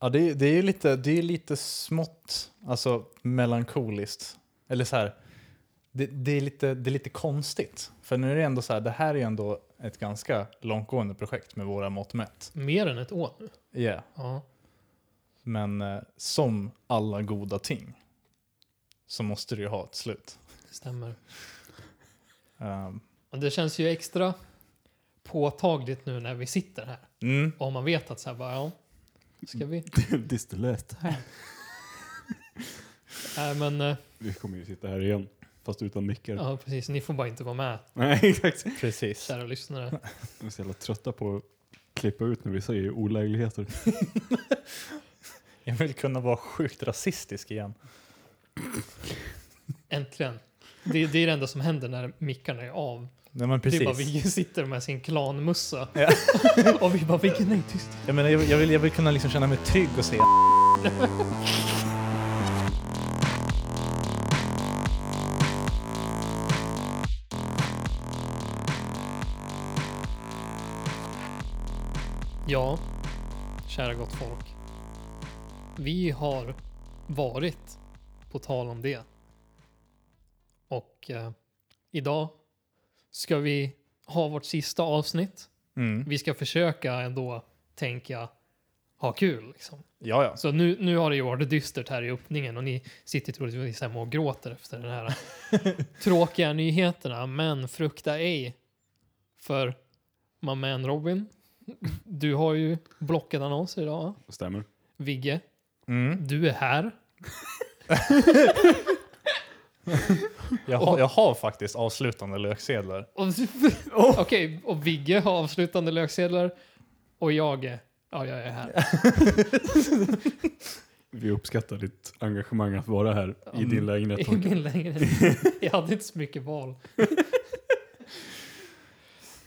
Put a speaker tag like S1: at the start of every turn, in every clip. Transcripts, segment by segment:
S1: Ja, det, är- det är ju lite, det är lite smått alltså, melankoliskt. Eller så här, det, det, är lite, det är lite konstigt. För nu är det ändå så här, det här är ändå ett ganska långtgående projekt med våra mått mätt.
S2: Mer än ett år nu.
S1: Yeah.
S2: Ja.
S1: Men eh, som alla goda ting så måste det ju ha ett slut.
S2: Det stämmer.
S1: Ehm,
S2: Och det känns ju extra påtagligt nu när vi sitter här.
S1: mm.
S2: Och man vet att så här bara, ja, ska vi?
S3: Distillöst.
S2: Nej men, eh,
S3: Vi kommer ju sitta här igen, fast utan mickar.
S2: ja precis, ni får bara inte vara med,
S3: Nej, exakt.
S1: Precis.
S2: kära lyssnare.
S3: Vi är så jävla trötta på att klippa ut när vi säger olägligheter.
S1: Jag vill kunna vara sjukt rasistisk igen.
S2: Äntligen. Det, det är det enda som händer när mickarna är av.
S1: Nej, men
S2: Det är
S1: precis.
S2: bara vi sitter med sin klanmussa.
S1: Ja.
S2: och vi bara, vilken nej, tyst.
S1: Jag, menar, jag, vill- jag, vill, jag vill kunna liksom känna mig trygg och säga
S2: Ja, kära gott folk. Vi har varit, på tal om det. Och eh, idag ska vi ha vårt sista avsnitt.
S1: mm.
S2: Vi ska försöka ändå tänka ha kul. Liksom.
S1: Ja, ja.
S2: Så nu, nu har det ju varit dystert här i öppningen och ni sitter troligtvis hemma och gråter efter den här tråkiga nyheterna. Men frukta ej. För my man Robin, du har ju blockat annonser idag. va?
S3: Stämmer.
S2: Vigge,
S1: Mm.
S2: du är här.
S1: Jag, har, jag har faktiskt avslutande löksedlar.
S2: Och- Okej, och Vigge har avslutande löksedlar. Och jag, är- ja, jag är här.
S3: Vi uppskattar ditt engagemang att vara här i din lägenhet.
S2: I min lägenhet. Jag hade inte så mycket val.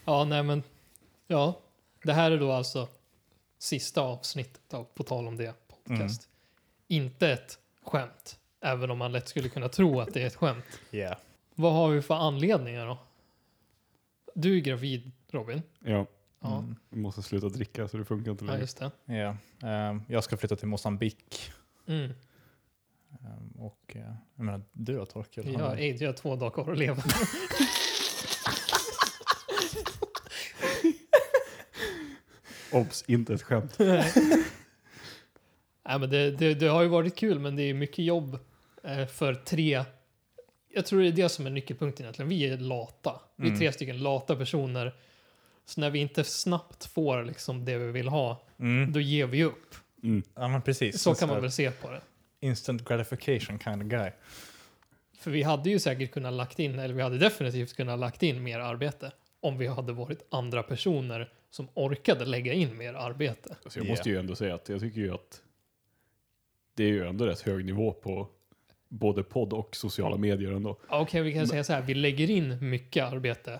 S2: Ja, nej men. Ja, det här är då alltså sista avsnittet av På tal om det podcast. Inte ett skämt, även om man lätt skulle kunna tro att det är ett skämt.
S1: Yeah.
S2: Vad har vi för anledningar då? Du är gravid, Robin.
S3: Ja,
S2: Ja,
S1: Mm.
S3: vi måste sluta dricka så det funkar inte
S2: ja
S3: längre.
S2: just det.
S1: Yeah. Ehm, jag ska flytta till Mosambik.
S2: Mm.
S1: Ehm, och eh, jag menar, du då Torkel?
S2: Jag har aids, jag har två dagar kvar att leva.
S3: Obs, inte ett skämt.
S2: Nej, men det, det, det har ju varit kul, men det är mycket jobb eh, för tre. Jag tror det är det som är nyckelpunkten egentligen. Vi är lata. Vi är
S1: Mm.
S2: tre stycken lata personer. Så när vi inte snabbt får liksom det vi vill ha,
S1: Mm.
S2: då ger vi upp.
S3: Mm.
S1: Ja, men precis.
S2: Så
S1: En
S2: kan man
S1: här
S2: väl se på det.
S1: Instant gratification kind of guy.
S2: För vi hade ju säkert kunnat lagt in, eller vi hade definitivt kunnat lagt in mer arbete om vi hade varit andra personer som orkade lägga in mer arbete.
S3: Alltså jag
S1: Yeah.
S3: måste ju ändå säga att jag tycker ju att det är ju ändå rätt hög nivå på både podd och sociala medier ändå.
S2: Okej, vi kan säga så här, vi lägger in mycket arbete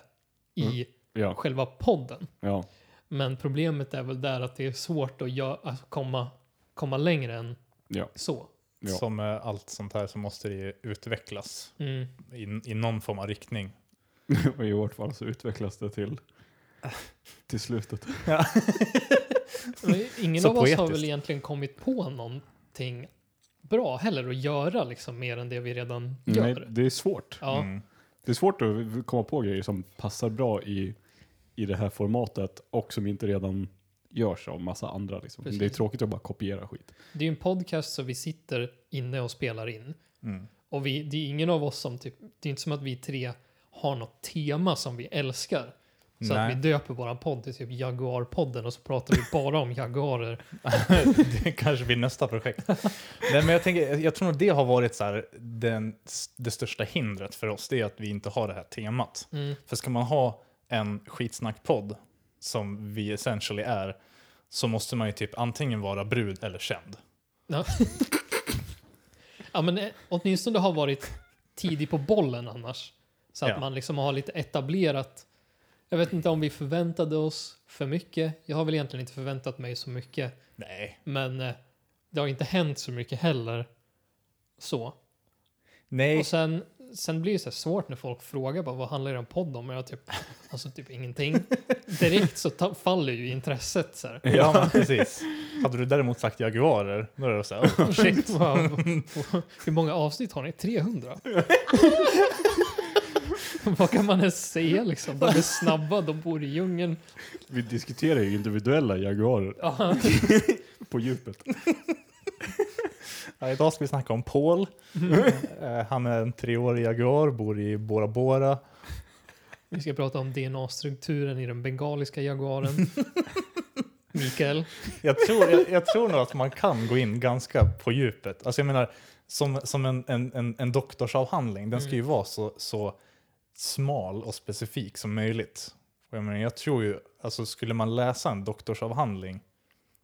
S2: i Mm.
S3: Ja,
S2: själva podden.
S3: ja.
S2: Men problemet är väl där att det är svårt att, gö- att komma, komma längre än
S3: Ja.
S2: så.
S3: Ja.
S1: Som med allt sånt här så måste det ju utvecklas
S2: Mm.
S1: i, i någon form av riktning.
S3: och i vårt fall så utvecklas det till,
S2: Ah.
S3: till slutet.
S2: Men Ingen
S1: Så
S2: av oss har
S1: poetiskt.
S2: väl egentligen kommit på någonting bra heller att göra liksom mer än det vi redan gör.
S3: Nej, det är svårt.
S2: Ja,
S1: Mm.
S3: Det är svårt att komma på grejer som passar bra i, i det här formatet och som inte redan görs av massa andra. Liksom.
S2: Precis.
S3: Det är tråkigt att bara kopiera skit.
S2: Det är ju en podcast så vi sitter inne och spelar in.
S1: Mm.
S2: Och vi, det är ingen av oss som typ, det är inte som att vi tre har något tema som vi älskar. Så
S1: Nej.
S2: att vi döper våran podd till typ Jaguarpodden och så pratar vi bara om jaguarer.
S1: det kanske blir nästa projekt. Nej, men jag, tänker, jag tror nog det har varit så här, den, det största hindret för oss. Det är att vi inte har det här temat.
S2: Mm.
S1: För ska man ha en skitsnackpodd som vi essentially är så måste man ju typ antingen vara brud eller känd.
S2: Ja, men eh, åtminstone har varit tidig på bollen annars. Så att
S1: Ja.
S2: man liksom har lite etablerat. Jag vet inte om vi förväntade oss för mycket. Jag har väl egentligen inte förväntat mig så mycket.
S1: Nej.
S2: Men eh, det har inte hänt så mycket heller. Så.
S1: Nej.
S2: Och sen sen blir det så här svårt när folk frågar bara, vad handlar er podd om? Och jag typ, alltså typ ingenting. Direkt så ta, faller ju intresset så här.
S1: Ja, men precis. Hade du däremot sagt jaguarer, då är det så här, oh, shit.
S2: Wow. Hur många avsnitt har ni? 300? Vad kan man ens säga liksom? De är snabba, de bor i djungeln.
S3: Vi diskuterar ju individuella jaguarer
S2: Ja.
S3: på djupet.
S1: Ja, idag ska vi snacka om Paul. Eh, Han är en treårig jaguar, bor i Bora Bora.
S2: Vi ska prata om DNA-strukturen i den bengaliska jaguaren. Mikael.
S1: Jag tror, jag, jag tror nog att man kan gå in ganska på djupet. Alltså jag menar, som, som en, en, en, en doktorsavhandling, den ska ju vara så, så smal och specifik som möjligt. Och jag, menar, jag tror ju, alltså skulle man läsa en doktorsavhandling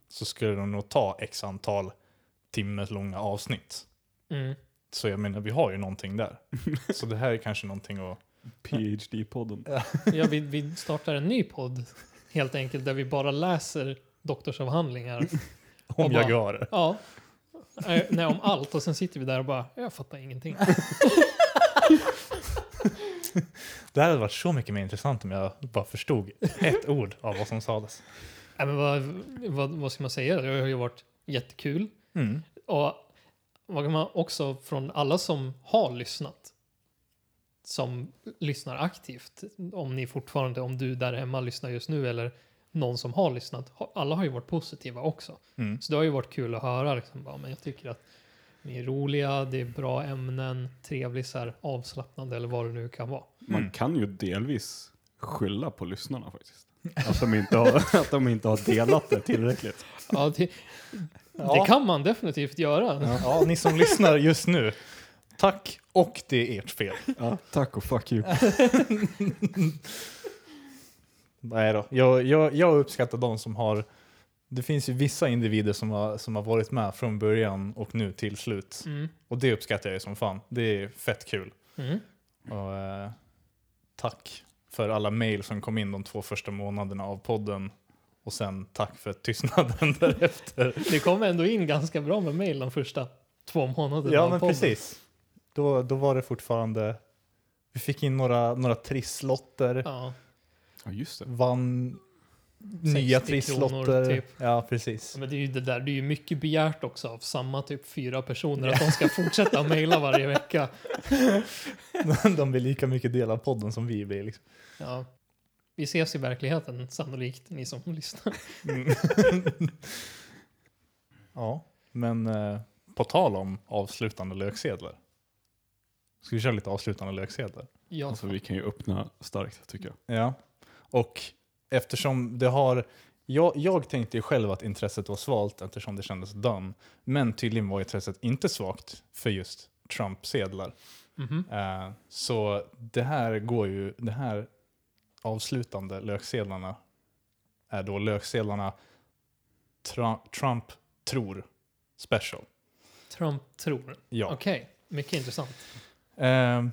S1: så skulle de nog ta x antal timmes långa avsnitt.
S2: Mm.
S1: Så jag menar, vi har ju någonting där. Så det här är kanske någonting att...
S3: PhD-podden.
S2: Ja, vi, vi startar en ny podd helt enkelt där vi bara läser doktorsavhandlingar.
S1: Om
S2: Och bara-
S1: jaguarer.
S2: Ja. Eh, Nej, om allt och sen sitter vi där och bara, jag fattar ingenting.
S1: Det här hade varit så mycket mer intressant om jag bara förstod ett ord av vad som sades.
S2: Nej, men vad, vad, vad ska man säga? Det har ju varit jättekul.
S1: Mm.
S2: Och vad kan man också från alla som har lyssnat, som lyssnar aktivt, om ni fortfarande, om du där hemma lyssnar just nu eller någon som har lyssnat, har- alla har ju varit positiva också.
S1: Mm.
S2: Så det har ju varit kul att höra, liksom, bara, men jag tycker att ni är roliga, det är bra ämnen, trevlig så här, avslappnande eller vad det nu kan vara.
S3: Man kan ju delvis skylla på lyssnarna faktiskt. Att de inte har, att de inte har delat det tillräckligt.
S2: Ja, det,
S1: Ja.
S2: det kan man definitivt göra.
S1: Ja, ni som lyssnar just nu. Tack och det är ert fel.
S3: Ja, tack och fuck you.
S1: Nej då. Jag, jag, jag uppskattar de som har... Det finns ju vissa individer som har, som har varit med från början och nu till slut.
S2: Mm.
S1: Och det uppskattar jag ju som fan. Det är fett kul.
S2: Mm.
S1: Och, eh, tack för alla mejl som kom in de två första månaderna av podden. Och sen tack för tystnaden därefter.
S2: Det kom ändå in ganska bra med mejl de första två månaderna
S1: Ja,
S2: av
S1: men
S2: podden.
S1: precis. Då, då var det fortfarande... Vi fick in några, några trisslotter.
S2: Ja.
S3: Ja, just det.
S1: vann nya
S2: 60 kronor,
S1: trisslotter.
S2: typ.
S1: Ja, precis.
S2: Ja, Men det är ju det där, det är ju mycket begärt också av samma typ fyra personer att de ska fortsätta mejla varje vecka.
S1: De blir lika mycket del av podden som vi blir. Liksom.
S2: Ja. Vi ses i verkligheten sannolikt, ni som lyssnar.
S1: ja, men eh, på tal om avslutande löksedlar. Ska vi köra lite avslutande löksedlar?
S2: Ja,
S3: Alltså vi kan ju öppna starkt tycker jag.
S1: Ja. Och eftersom det har... Jag, jag tänkte ju själv att intresset var svalt eftersom det kändes done. Men tydligen var intresset inte svagt för just Trump-sedlar.
S2: Mhm.
S1: Eh, Så det här går ju, det här avslutande löksedlarna är då löksedlarna Tra- Trump tror special.
S2: Trump tror.
S1: Ja.
S2: Okej, mycket intressant.
S1: Eh,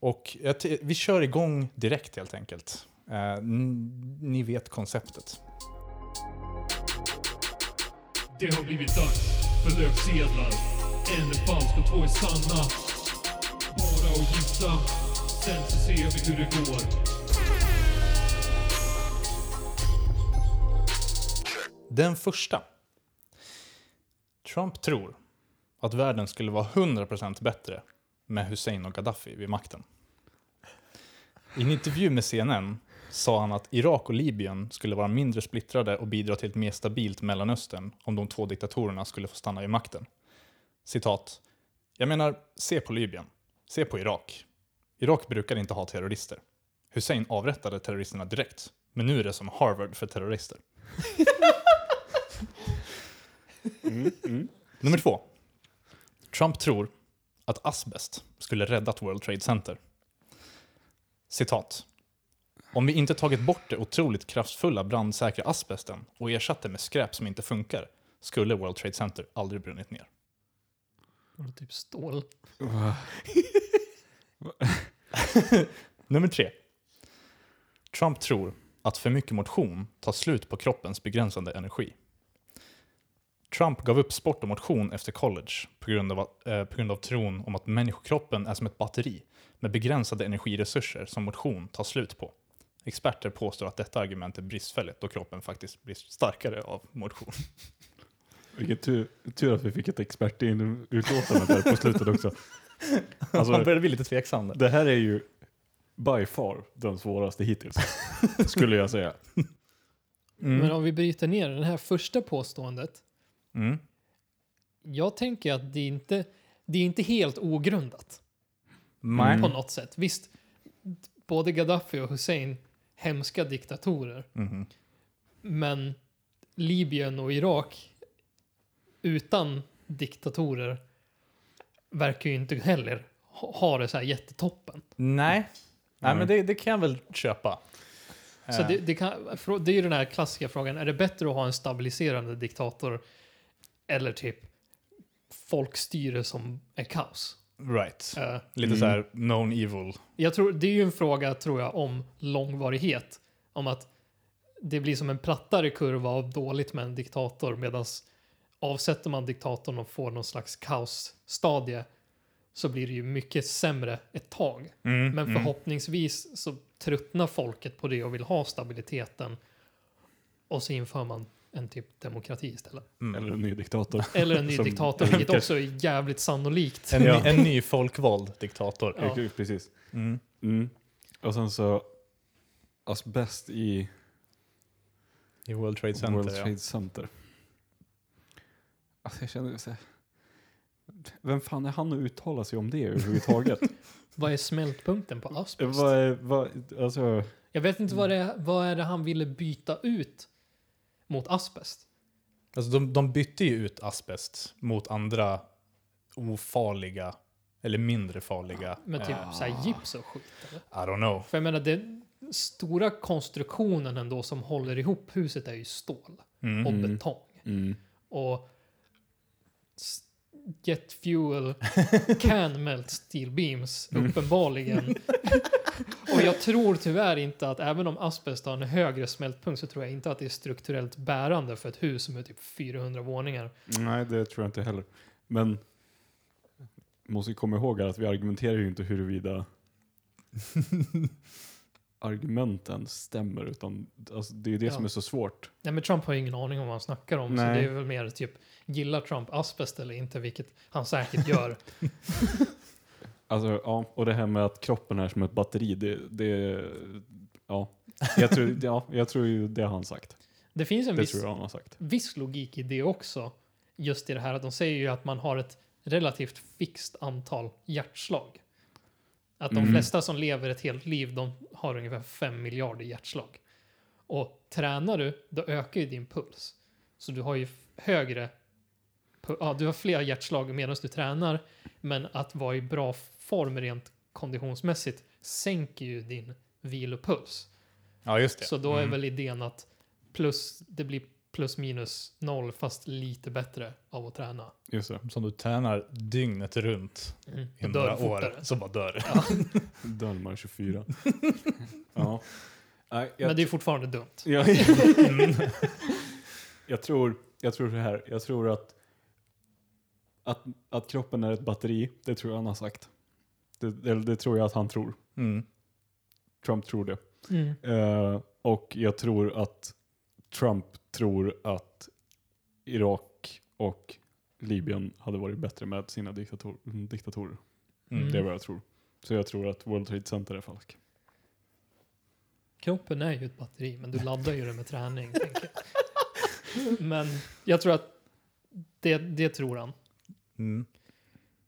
S1: och jag t- vi kör igång direkt helt enkelt. Eh, n- ni vet konceptet.
S4: Det har blivit dags för löpsedlar. En är falsk och två är sanna. Bara att gissa, sen så ser vi hur det går.
S1: Den första. Trump tror att världen skulle vara 100% bättre med Hussein och Gaddafi vid makten. I en intervju med CNN sa han att Irak och Libyen skulle vara mindre splittrade och bidra till ett mer stabilt Mellanöstern om de två diktatorerna skulle få stanna vid makten. Citat. Jag menar, se på Libyen. Se på Irak. Irak brukar inte ha terrorister. Hussein avrättade terroristerna direkt, men nu är det som Harvard för terrorister.
S3: Mm,
S1: Nummer två. Trump tror att asbest skulle räddat World Trade Center. Citat. Om vi inte tagit bort det otroligt kraftfulla brandsäkra asbesten och ersatt det med skräp som inte funkar skulle World Trade Center aldrig brunnit ner.
S2: Var det typ stål?
S1: Nummer tre. Trump tror att för mycket motion tar slut på kroppens begränsande energi. Trump gav upp sport och motion efter college på grund, av, att- eh, på grund av tron om att människokroppen är som ett batteri med begränsade energiresurser som motion tar slut på. Experter påstår att detta argument är bristfälligt då kroppen faktiskt blir starkare av motion.
S3: Vilken tur, tur att vi fick ett expert in utlåtande där på slutet också. Alltså-
S1: Man börjar bli lite tveksam där.
S3: Det här är ju by far den svåraste hittills, skulle jag säga.
S1: Mm.
S2: Men om vi bryter ner det här första påståendet.
S1: Mm.
S2: Jag tänker att det är inte det är inte helt ogrundat
S1: Nej.
S2: på något sätt. Visst, både Gaddafi och Hussein hemska diktatorer.
S1: Mhm.
S2: Men Libyen och Irak utan diktatorer verkar ju inte heller ha ha det så här jättetoppen.
S1: Nej. Nej,
S3: Mm.
S1: men det, det kan jag väl köpa.
S2: Så
S1: Eh,
S2: det, det, kan, frå- det är ju den här klassiska frågan, är det bättre att ha en stabiliserande diktator eller typ folkstyre som är kaos?
S1: Right.
S2: Eh,
S1: Lite
S3: Mm.
S1: så här known evil.
S2: Jag tror, det är ju en fråga, tror jag, om långvarighet. Om att det blir som en plattare kurva av dåligt med en diktator medan avsätter man diktatorn och får någon slags kaosstadie så blir det ju mycket sämre ett tag.
S1: Mm,
S2: Men
S1: mm.
S2: förhoppningsvis så tröttnar folket på det och vill ha stabiliteten och så inför man en typ demokrati istället.
S1: Mm.
S3: Eller en ny diktator.
S2: Eller en ny
S3: Som-
S2: diktator, vilket också är jävligt sannolikt.
S1: En,
S3: Ja.
S1: ny, en ny folkvald diktator.
S2: Ja.
S3: Ja. Precis.
S1: Mm.
S3: Mm. Och sen så asbest i
S1: I World Trade Center.
S3: World Trade Center. Alltså jag känner så här, Vem fan är han att uttala sig om det överhuvudtaget?
S2: Vad är smältpunkten på asbest?
S3: vad är, vad, alltså,
S2: Jag vet inte vad det är, vad är det han ville byta ut mot asbest.
S1: ja. alltså, de, de bytte ju ut asbest mot andra ofarliga eller mindre farliga.
S2: Med typ
S1: eh,
S2: så här gips och skit. Eller?
S1: I don't know.
S2: För jag menar, den stora konstruktionen ändå som håller ihop huset är ju stål
S1: Mm.
S2: och
S3: Mm.
S2: betong.
S3: mm.
S2: Och s- jet fuel can melt steel beams, uppenbarligen. och jag tror tyvärr inte att, även om asbest har en högre smältpunkt, så tror jag inte att det är strukturellt bärande för ett hus som är typ 400 våningar.
S3: Nej, det tror jag inte heller. Men måste ju komma ihåg här att vi argumenterar ju inte huruvida argumenten stämmer. Utan, alltså, det är ju det
S2: Ja.
S3: som är så svårt.
S2: Nej men Trump har ju ingen aning om vad han snackar om. Så
S3: Nej.
S2: det är väl mer typ, gillar Trump asbest eller inte, vilket han säkert gör.
S3: Alltså, ja, och det här med att kroppen är som ett batteri, det... det ja. Jag tror, ja, jag tror ju det har han sagt.
S2: det finns en
S3: Det
S2: viss,
S3: tror jag han har sagt.
S2: viss logik i det också. Just i det här att de säger ju att man har ett relativt fixt antal hjärtslag. Att de
S3: Mm.
S2: flesta som lever ett helt liv, de har ungefär 5 miljarder hjärtslag. Och tränar du, då ökar ju din puls. Så du har ju f- högre, pu- ja, du har fler hjärtslag medan du tränar. Men att vara i bra form rent konditionsmässigt sänker ju din vilopuls.
S1: Ja, just det.
S2: Så då är
S1: Mm.
S2: väl idén att plus, det blir plus minus noll fast lite bättre av att träna.
S3: Just det.
S1: Som du tränar dygnet runt
S2: Mm.
S1: i
S2: Då dör
S1: några
S2: du
S1: år,
S2: fortare.
S1: så bara dör.
S3: Dalmar 24. ja. Nej, jag
S2: Men det är fortfarande dumt.
S3: Jag,
S1: Mm.
S3: jag, tror, jag tror så här, jag tror att, att, att kroppen är ett batteri, det tror jag han har sagt. Det, eller det tror jag att han tror.
S1: Mm.
S3: Trump tror det. Eh, och jag tror att Trump tror att Irak och Libyen hade varit bättre med sina diktator, diktatorer.
S1: Mm.
S3: Det är vad jag tror. Så jag tror att World Trade Center är falsk.
S2: Kroppen är ju ett batteri, men du laddar ju det med träning. tänker jag. Men jag tror att det, det tror han.
S1: Mm.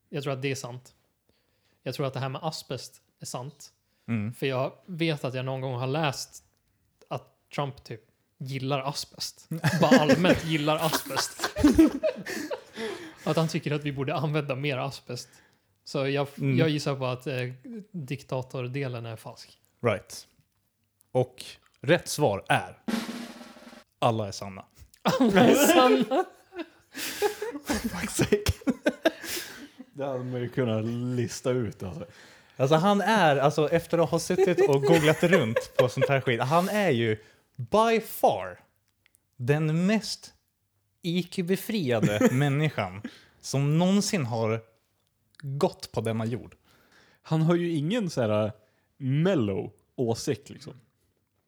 S2: Jag tror att det är sant. Jag tror att det här med asbest är sant.
S1: Mm.
S2: För jag vet att jag någon gång har läst att Trump typ gillar asbest. Bara allmänt gillar asbest. att han tycker att vi borde använda mer asbest. Så jag,
S1: Mm.
S2: jag gissar på att eh, diktatordelen är falsk.
S1: Right. Och rätt svar är... Alla är sanna.
S3: Det hade man ju kunnat lista ut alltså.
S1: Alltså han är, alltså efter att ha suttit och googlat runt på sånt här skit, han är ju by far den mest IQ-befriade människan som någonsin har gått på denna jord.
S3: Han har ju ingen så här äh, mellow åsikt liksom.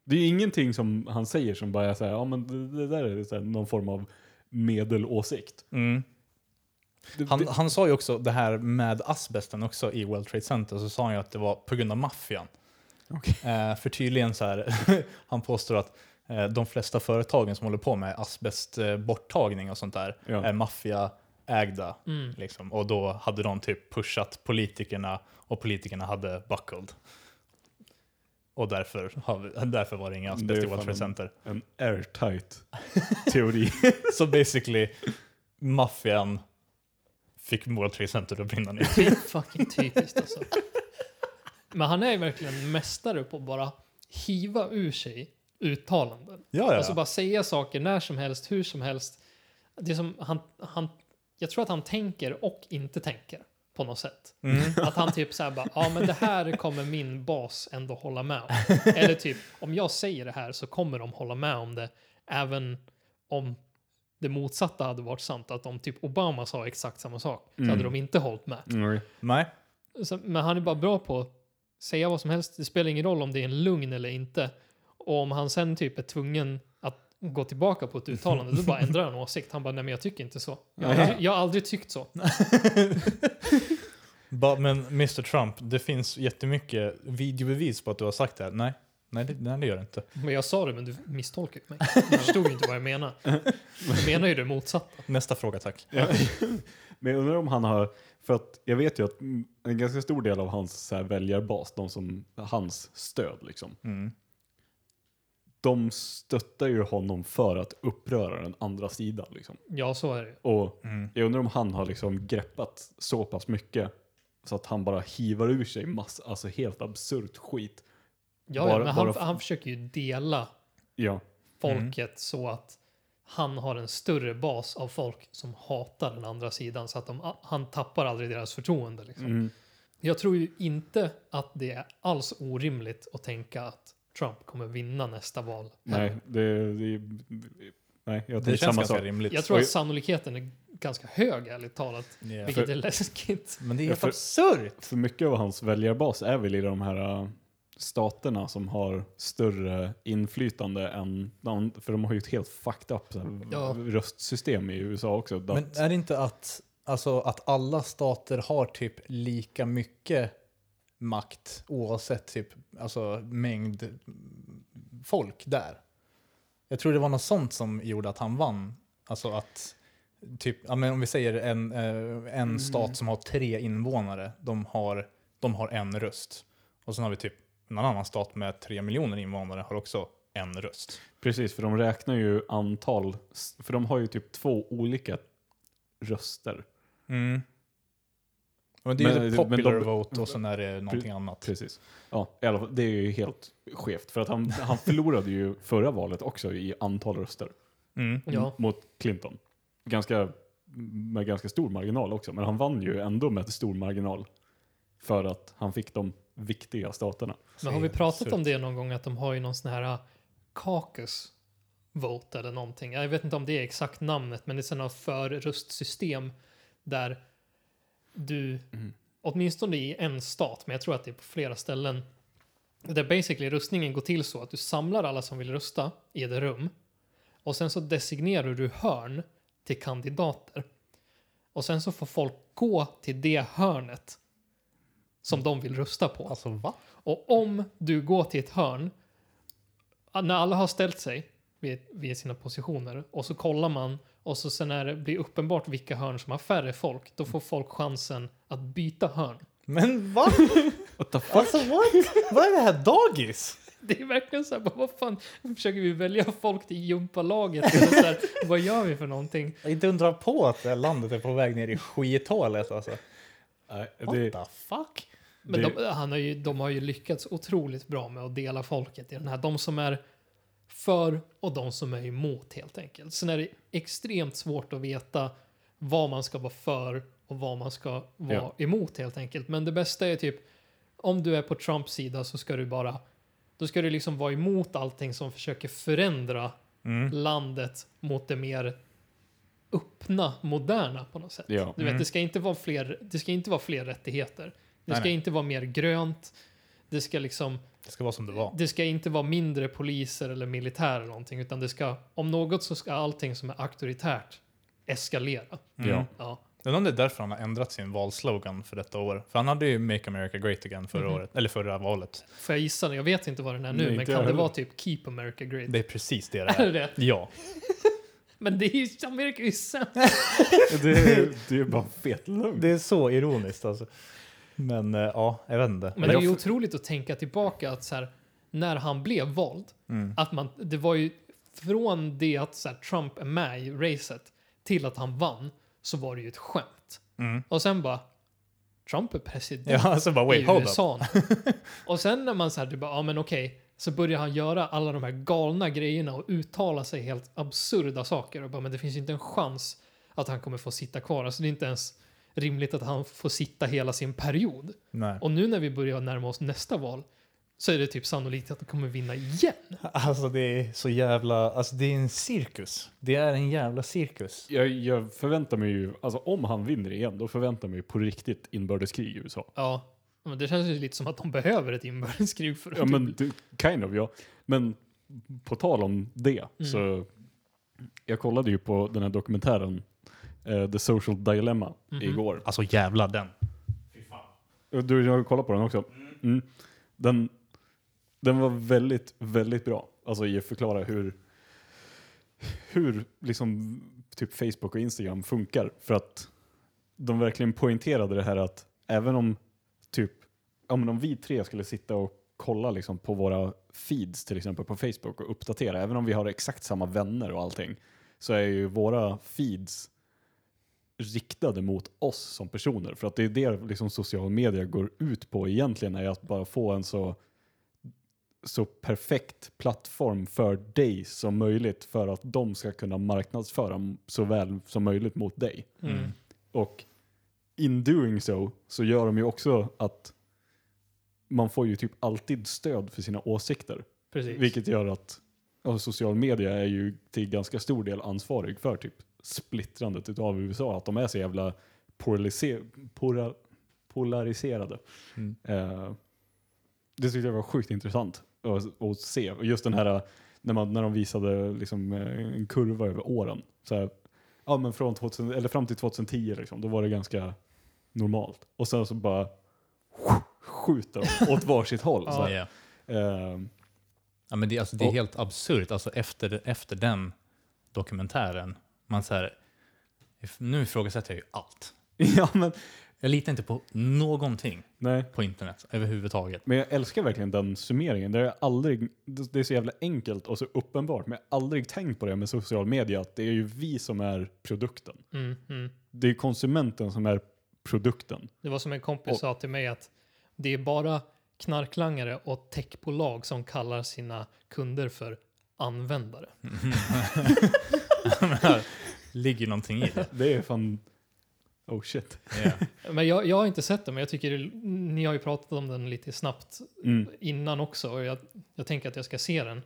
S3: Det är ju ingenting som han säger som bara är så här, ja men det, det där är så här, någon form av medelåsikt.
S1: Mm.
S3: Det,
S1: Han,
S3: det,
S1: han sa ju också det här med asbesten också i World Trade Center, så sa han ju att det var på grund av maffian.
S3: Okej.
S1: Eh, för tydligen så här, han påstår att eh, de flesta företagen som håller på med asbestborttagning och sånt där
S3: Ja.
S1: är maffiaägda.
S2: Mm.
S1: Liksom. Och då hade de typ pushat politikerna och politikerna hade buckled. Och därför, har vi, därför var det inga
S3: Det är
S1: asbest i World
S3: fan
S1: Trade
S3: en-
S1: Center.
S3: en airtight teori.
S1: Så basically, maffian fick World Trade Center att brinna ner.
S2: Det är fucking typiskt alltså. Men han är ju verkligen mästare på att bara hiva ur sig uttalanden.
S1: Ja, ja.
S2: Alltså bara säga saker när som helst, hur som helst. Det är som han, han, jag tror att han tänker och inte tänker på något sätt.
S1: Mm.
S2: Att han typ såhär bara, ja men det här kommer min bas ändå hålla med om. Eller typ, om jag säger det här så kommer de hålla med om det. Även om det motsatta hade varit sant. Att om typ Obama sa exakt samma sak så hade
S3: Mm.
S2: de inte hållit med.
S3: Mm.
S1: Nej.
S2: Så, men han är bara bra på att säga vad som helst. Det spelar ingen roll om det är en lugn eller inte. Och om han sen typ är tvungen att gå tillbaka på ett uttalande, då bara ändrar han åsikt. Han bara, nej men jag tycker inte så. Jag har aldrig, jag har aldrig tyckt så.
S1: Ba, men Mr Trump, det finns jättemycket videobevis på att du har sagt det här. Nej, nej det, nej, det gör det inte.
S2: Men jag sa det, men du misstolkade mig. Du förstod ju inte vad jag menar. Jag menar ju det motsatta.
S1: Nästa fråga tack.
S3: Ja. Men jag undrar om han har, för att jag vet ju att mm, en ganska stor del av hans så här, väljarbas, de som, hans stöd liksom,
S1: Mm.
S3: de stöttar ju honom för att uppröra den andra sidan liksom.
S2: Ja, så är det ju.
S3: Och
S1: Mm.
S3: jag undrar om han har liksom greppat så pass mycket så att han bara hivar ur sig massa, alltså helt absurt skit.
S2: Ja,
S3: Bara-
S2: ja, men han,
S3: bara-
S2: han försöker ju dela
S3: Ja,
S2: folket så att han har en större bas av folk som hatar den andra sidan så att de, han tappar aldrig deras förtroende. Liksom.
S3: mm.
S2: Jag tror ju inte att det är alls orimligt att tänka att Trump kommer vinna nästa val.
S3: nej, det, det, nej,
S1: Det
S3: jag tänker
S1: känns
S3: samma
S1: ganska
S3: sak.
S1: rimligt.
S2: Jag tror
S3: Oj.
S2: att sannolikheten är ganska hög, ärligt talat.
S1: Ja.
S2: Vilket är läskigt.
S1: Men det är
S3: Ja,
S1: helt
S3: för-
S1: absurt!
S3: För mycket av hans väljarbas är väl i de här äh, staterna som har större inflytande än de, för de har ju ett helt fucked up så här,
S2: Ja.
S3: röstsystem i USA också. Att-
S1: Men äh- är det inte att, alltså, att alla stater har typ lika mycket makt oavsett typ, alltså, mängd mm, folk där? Jag tror det var något sånt som gjorde att han vann. Alltså att, typ, ja, men om vi säger en, eh, en stat som har tre invånare, de har, de har en röst. Och sen har vi typ en annan stat med tre miljoner invånare har också en röst.
S3: Precis, för de räknar ju antal, s- för de har ju typ två olika röster.
S1: Mm. Men det är
S3: Men-
S1: ju
S3: men
S1: the popular
S3: de-
S1: vote och sen är det någonting annat.
S3: Precis. Ja, i alla fall, det är ju helt skevt, för att han, han förlorade ju förra valet också i antal röster
S1: Mm.
S2: Ja.
S3: mot Clinton. Ganska, med ganska stor marginal också, men han vann ju ändå med stor marginal för att han fick de viktiga staterna.
S2: Men har vi pratat om det någon gång att de har ju någon sån här uh, caucus vote eller någonting. Jag vet inte om det är exakt namnet, men det är sådana förröstsystem där du, åtminstone i en stat, men jag tror att det är på flera ställen, där basically röstningen går till så att du samlar alla som vill rösta i ett rum och sen så designerar du hörn till kandidater. Och sen så får folk gå till det hörnet som de vill rösta på.
S1: Alltså va?
S2: Och om du går till ett hörn, när alla har ställt sig vid, vid sina positioner och så kollar man och så sen när det blir uppenbart vilka hörn som har färre folk, då får folk chansen att byta hörn.
S1: Men va?
S3: What the fuck?
S1: Alltså what? Vad är det här dagis?
S2: Det är verkligen så här, bara, vad fan, försöker vi välja folk till jumpalaget? Eller så här, vad gör vi för någonting?
S1: Inte undra på att det här landet är på väg ner i skithålet alltså.
S3: Nej,
S1: What
S3: det,
S1: the fuck?
S2: Men
S3: Det-
S2: de, han har ju, de har ju lyckats otroligt bra med att dela folket i den här. De som är för och de som är emot helt enkelt. Sen är det extremt svårt att veta vad man ska vara för och vad man ska vara
S3: Ja.
S2: emot helt enkelt. Men det bästa är typ om du är på Trumps sida så ska du bara då ska du liksom vara emot allting som försöker förändra landet mot det mer öppna, moderna på något sätt.
S3: Ja.
S2: Du vet,
S1: Mm.
S2: det, ska inte vara fler, det ska inte vara fler rättigheter. Det
S1: Nej,
S2: ska
S1: nej.
S2: inte vara mer grönt. Det ska liksom,
S1: Det ska vara som det var.
S2: det ska inte vara mindre poliser eller militär eller någonting, utan det ska, om något så ska allting som är auktoritärt eskalera.
S1: Mm.
S3: Ja.
S2: Ja.
S1: Undrar om det är därför han har ändrat sin valslogan för detta år. För han hade ju Make America Great Again förra,
S2: Mhm.
S1: året, eller förra valet.
S2: Får jag gissa? Jag vet inte vad den är nu,
S3: Nej,
S2: men
S3: inte
S2: kan
S3: jag
S2: det
S3: heller.
S2: vara typ Keep America Great?
S1: Det är precis det det
S2: Är det
S1: är.
S2: det?
S1: Ja.
S2: Men det är ju, Amerika är ju sämst.
S3: Det är, det är bara fet lögn.
S1: Det är så ironiskt alltså. Men eh, ja, jag vet inte.
S2: Men det är
S1: jag,
S2: ju otroligt att tänka tillbaka att så här, när han blev vald,
S1: Mm.
S2: att man, det var ju från det att så här, Trump är med i racet till att han vann så var det ju ett skämt.
S1: Mm.
S2: Och sen bara, Trump är president
S1: Ja, alltså bara
S2: i
S1: wait, hold up.
S2: USA. och sen när man så här, du bara, ja men okej, så börjar han göra alla de här galna grejerna och uttala sig helt absurda saker och bara, men det finns ju inte en chans att han kommer få sitta kvar. Alltså det är inte ens rimligt att han får sitta hela sin period.
S1: Nej.
S2: Och nu när vi börjar närma oss nästa val så är det typ sannolikt att de kommer vinna igen.
S1: Alltså det är så jävla, alltså det är en cirkus. Det är en jävla cirkus.
S3: Jag, jag förväntar mig ju, alltså om han vinner igen, då förväntar jag mig på riktigt inbördeskrig i USA.
S2: Ja, men det känns ju lite som att de behöver ett inbördeskrig för att typ-
S3: Ja, men du- kind of ja. Men på tal om det
S2: Mm.
S3: så jag kollade ju på den här dokumentären eh, The Social Dilemma
S2: Mhm.
S3: igår.
S1: Alltså jävla den.
S3: Och Du har ju kollat på den också. Mm. Den, den var väldigt, väldigt bra. Alltså i att förklara hur, hur liksom typ Facebook och Instagram funkar. För att de verkligen poängterade det här att även om typ, ja men om vi tre skulle sitta och kolla liksom på våra feeds till exempel på Facebook och uppdatera, även om vi har exakt samma vänner och allting, så är ju våra feeds riktade mot oss som personer. För att det är det liksom sociala medier går ut på egentligen, är att bara få en så, så perfekt plattform för dig som möjligt för att de ska kunna marknadsföra så väl som möjligt mot dig.
S2: Mm.
S3: Och in doing so så gör de ju också att man får ju typ alltid stöd för sina åsikter.
S2: Precis.
S3: Vilket gör att ja, social media är ju till ganska stor del ansvarig för typ splittrandet utav USA. Att de är så jävla polariser polar polariserade.
S1: Mm.
S3: Eh, det tyckte jag var sjukt intressant att, att se. Och just den här när, man, när de visade liksom, eh, en kurva över åren. Så här, ja, men från 2000, eller fram till 2010 liksom, då var det ganska normalt. Och sen så bara skjuter de åt varsitt håll. Så här.
S1: Ja.
S3: Eh,
S1: Ja, men det, alltså, det är
S3: Och-
S1: helt absurt. Alltså, efter, efter den dokumentären, man så här, if- nu ifrågasätter jag ju allt.
S3: ja, men
S1: Jag litar inte på någonting
S3: Nej,
S1: på internet överhuvudtaget.
S3: men jag älskar verkligen den summeringen. Det, är aldrig, det är så jävla enkelt och så uppenbart, men jag har aldrig tänkt på det med social media, att det är ju vi som är produkten.
S2: Mm, mm.
S3: Det är konsumenten som är produkten.
S2: Det var som en kompis
S3: Och-
S2: sa till mig att det är bara knarklangare och techbolag som kallar sina kunder för användare.
S1: ligger någonting i det.
S3: Det är fan... Oh shit.
S1: Ja.
S2: Men jag, jag har inte sett det, men jag tycker det, ni har ju pratat om den lite snabbt
S3: Mm.
S2: innan också och jag, jag tänker att jag ska se den.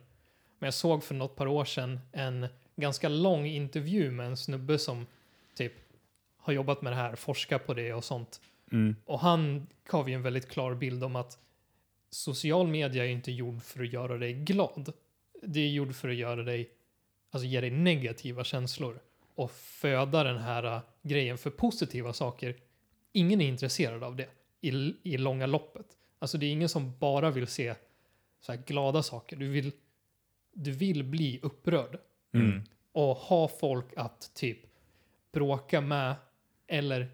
S2: Men jag såg för något par år sedan en ganska lång intervju med en snubbe som typ har jobbat med det här, forskat på det och sånt.
S3: Mm.
S2: Och han gav ju en väldigt klar bild om att social media är ju inte gjord för att göra dig glad. Det är gjord för att göra dig, alltså ge dig negativa känslor och föda den här äh, grejen för positiva saker. Ingen är intresserad av det i, i långa loppet. Alltså det är ingen som bara vill se så här glada saker. Du vill, du vill bli upprörd
S1: Mm.
S2: och ha folk att typ bråka med eller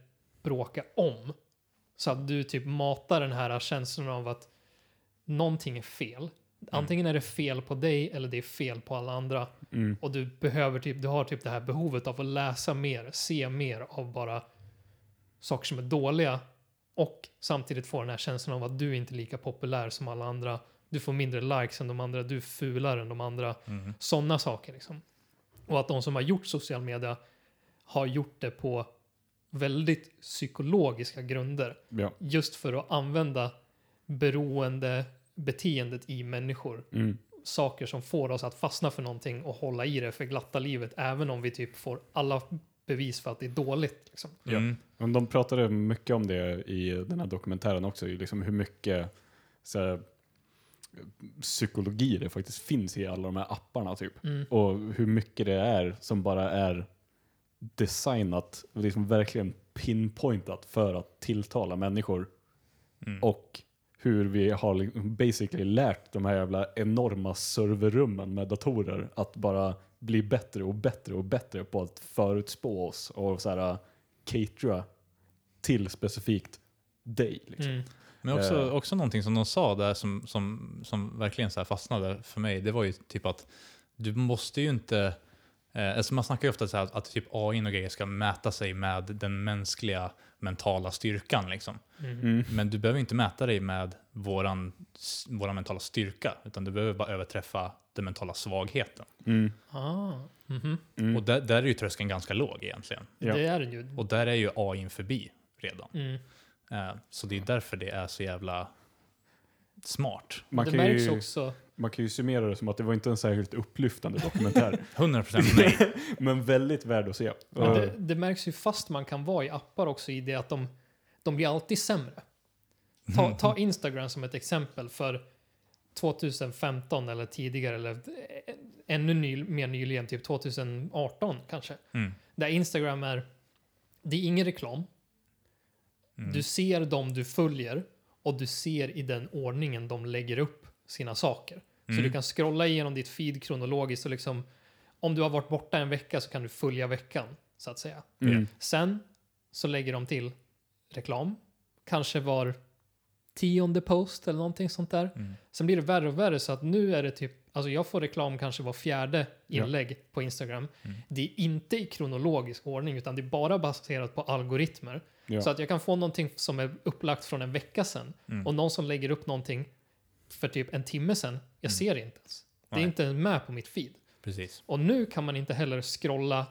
S2: bråka om. Så att du typ matar den här känslan av att någonting är fel. Antingen är det fel på dig eller det är fel på alla andra.
S3: Mm.
S2: Och du behöver typ, du har typ det här behovet av att läsa mer, se mer av bara saker som är dåliga och samtidigt få den här känslan av att du inte är lika populär som alla andra. Du får mindre likes än de andra, du är fulare än de andra.
S1: Mm.
S2: Sådana saker liksom. Och att de som har gjort social media har gjort det på väldigt psykologiska grunder.
S3: Ja.
S2: Just för att använda beroende beteendet i människor.
S3: Mm.
S2: Saker som får oss att fastna för någonting och hålla i det för glatta livet även om vi typ får alla bevis för att det är dåligt. Liksom.
S3: Ja.
S1: Mm.
S3: Men de pratade mycket om det i den här dokumentären också, ju liksom hur mycket så här, psykologi det faktiskt finns i alla de här apparna. Typ.
S2: Mm.
S3: Och hur mycket det är som bara är designat, och liksom verkligen pinpointat för att tilltala människor.
S1: Mm.
S3: Och hur vi har liksom basically lärt de här jävla enorma serverrummen med datorer att bara bli bättre och bättre och bättre på att förutspå oss och så här, catera till specifikt dig. Liksom.
S2: Mm.
S1: Men också,
S3: Eh.
S1: också någonting som de sa där som, som, som verkligen så här fastnade för mig, det var ju typ att du måste ju inte... Eh, alltså man snackar ju ofta så här att typ AI och grejer ska mäta sig med den mänskliga mentala styrkan. Liksom.
S2: Mm.
S3: Mm.
S1: Men du behöver inte mäta dig med våran, s- våran mentala styrka, utan du behöver bara överträffa den mentala svagheten.
S3: Mm.
S2: Ah. Mhm.
S3: Mm.
S1: Och där, där är ju tröskeln ganska låg egentligen.
S3: Ja.
S2: Det är den ju.
S1: Och där är ju AI förbi redan.
S2: Mm.
S1: Eh, så det är därför det är så jävla smart.
S3: Man,
S2: det
S3: kan
S2: märks
S3: ju,
S2: också.
S3: man kan ju summera det som att det var inte en särskilt upplyftande dokumentär,
S1: 100% nej.
S3: men väldigt värd att se.
S2: Men
S3: Och-
S2: det, det märks ju fast man kan vara i appar också i det att de, de blir alltid sämre. Ta, ta Instagram som ett exempel för 2015 eller tidigare eller eh, ännu ny, mer nyligen, typ 2018 kanske.
S1: Mm.
S2: Där Instagram är, det är ingen reklam.
S1: Mm.
S2: Du ser dem du följer och du ser i den ordningen de lägger upp sina saker. Så
S1: Mm.
S2: du kan scrolla igenom ditt feed kronologiskt och liksom om du har varit borta en vecka så kan du följa veckan så att säga.
S3: Mm.
S2: Sen så lägger de till reklam, kanske var tionde post eller någonting sånt där.
S1: Mm.
S2: Sen blir det värre och värre så att nu är det typ, alltså jag får reklam kanske var fjärde
S3: Ja.
S2: inlägg på Instagram.
S1: Mm.
S2: Det är inte i kronologisk ordning utan det är bara baserat på algoritmer.
S3: Ja.
S2: Så att jag kan få någonting som är upplagt från en vecka sedan
S1: Mm.
S2: och någon som lägger upp någonting för typ en timme sedan, jag ser det inte ens. Det är
S1: Mm. Nej.
S2: inte ens med på mitt feed.
S1: Precis.
S2: Och nu kan man inte heller scrolla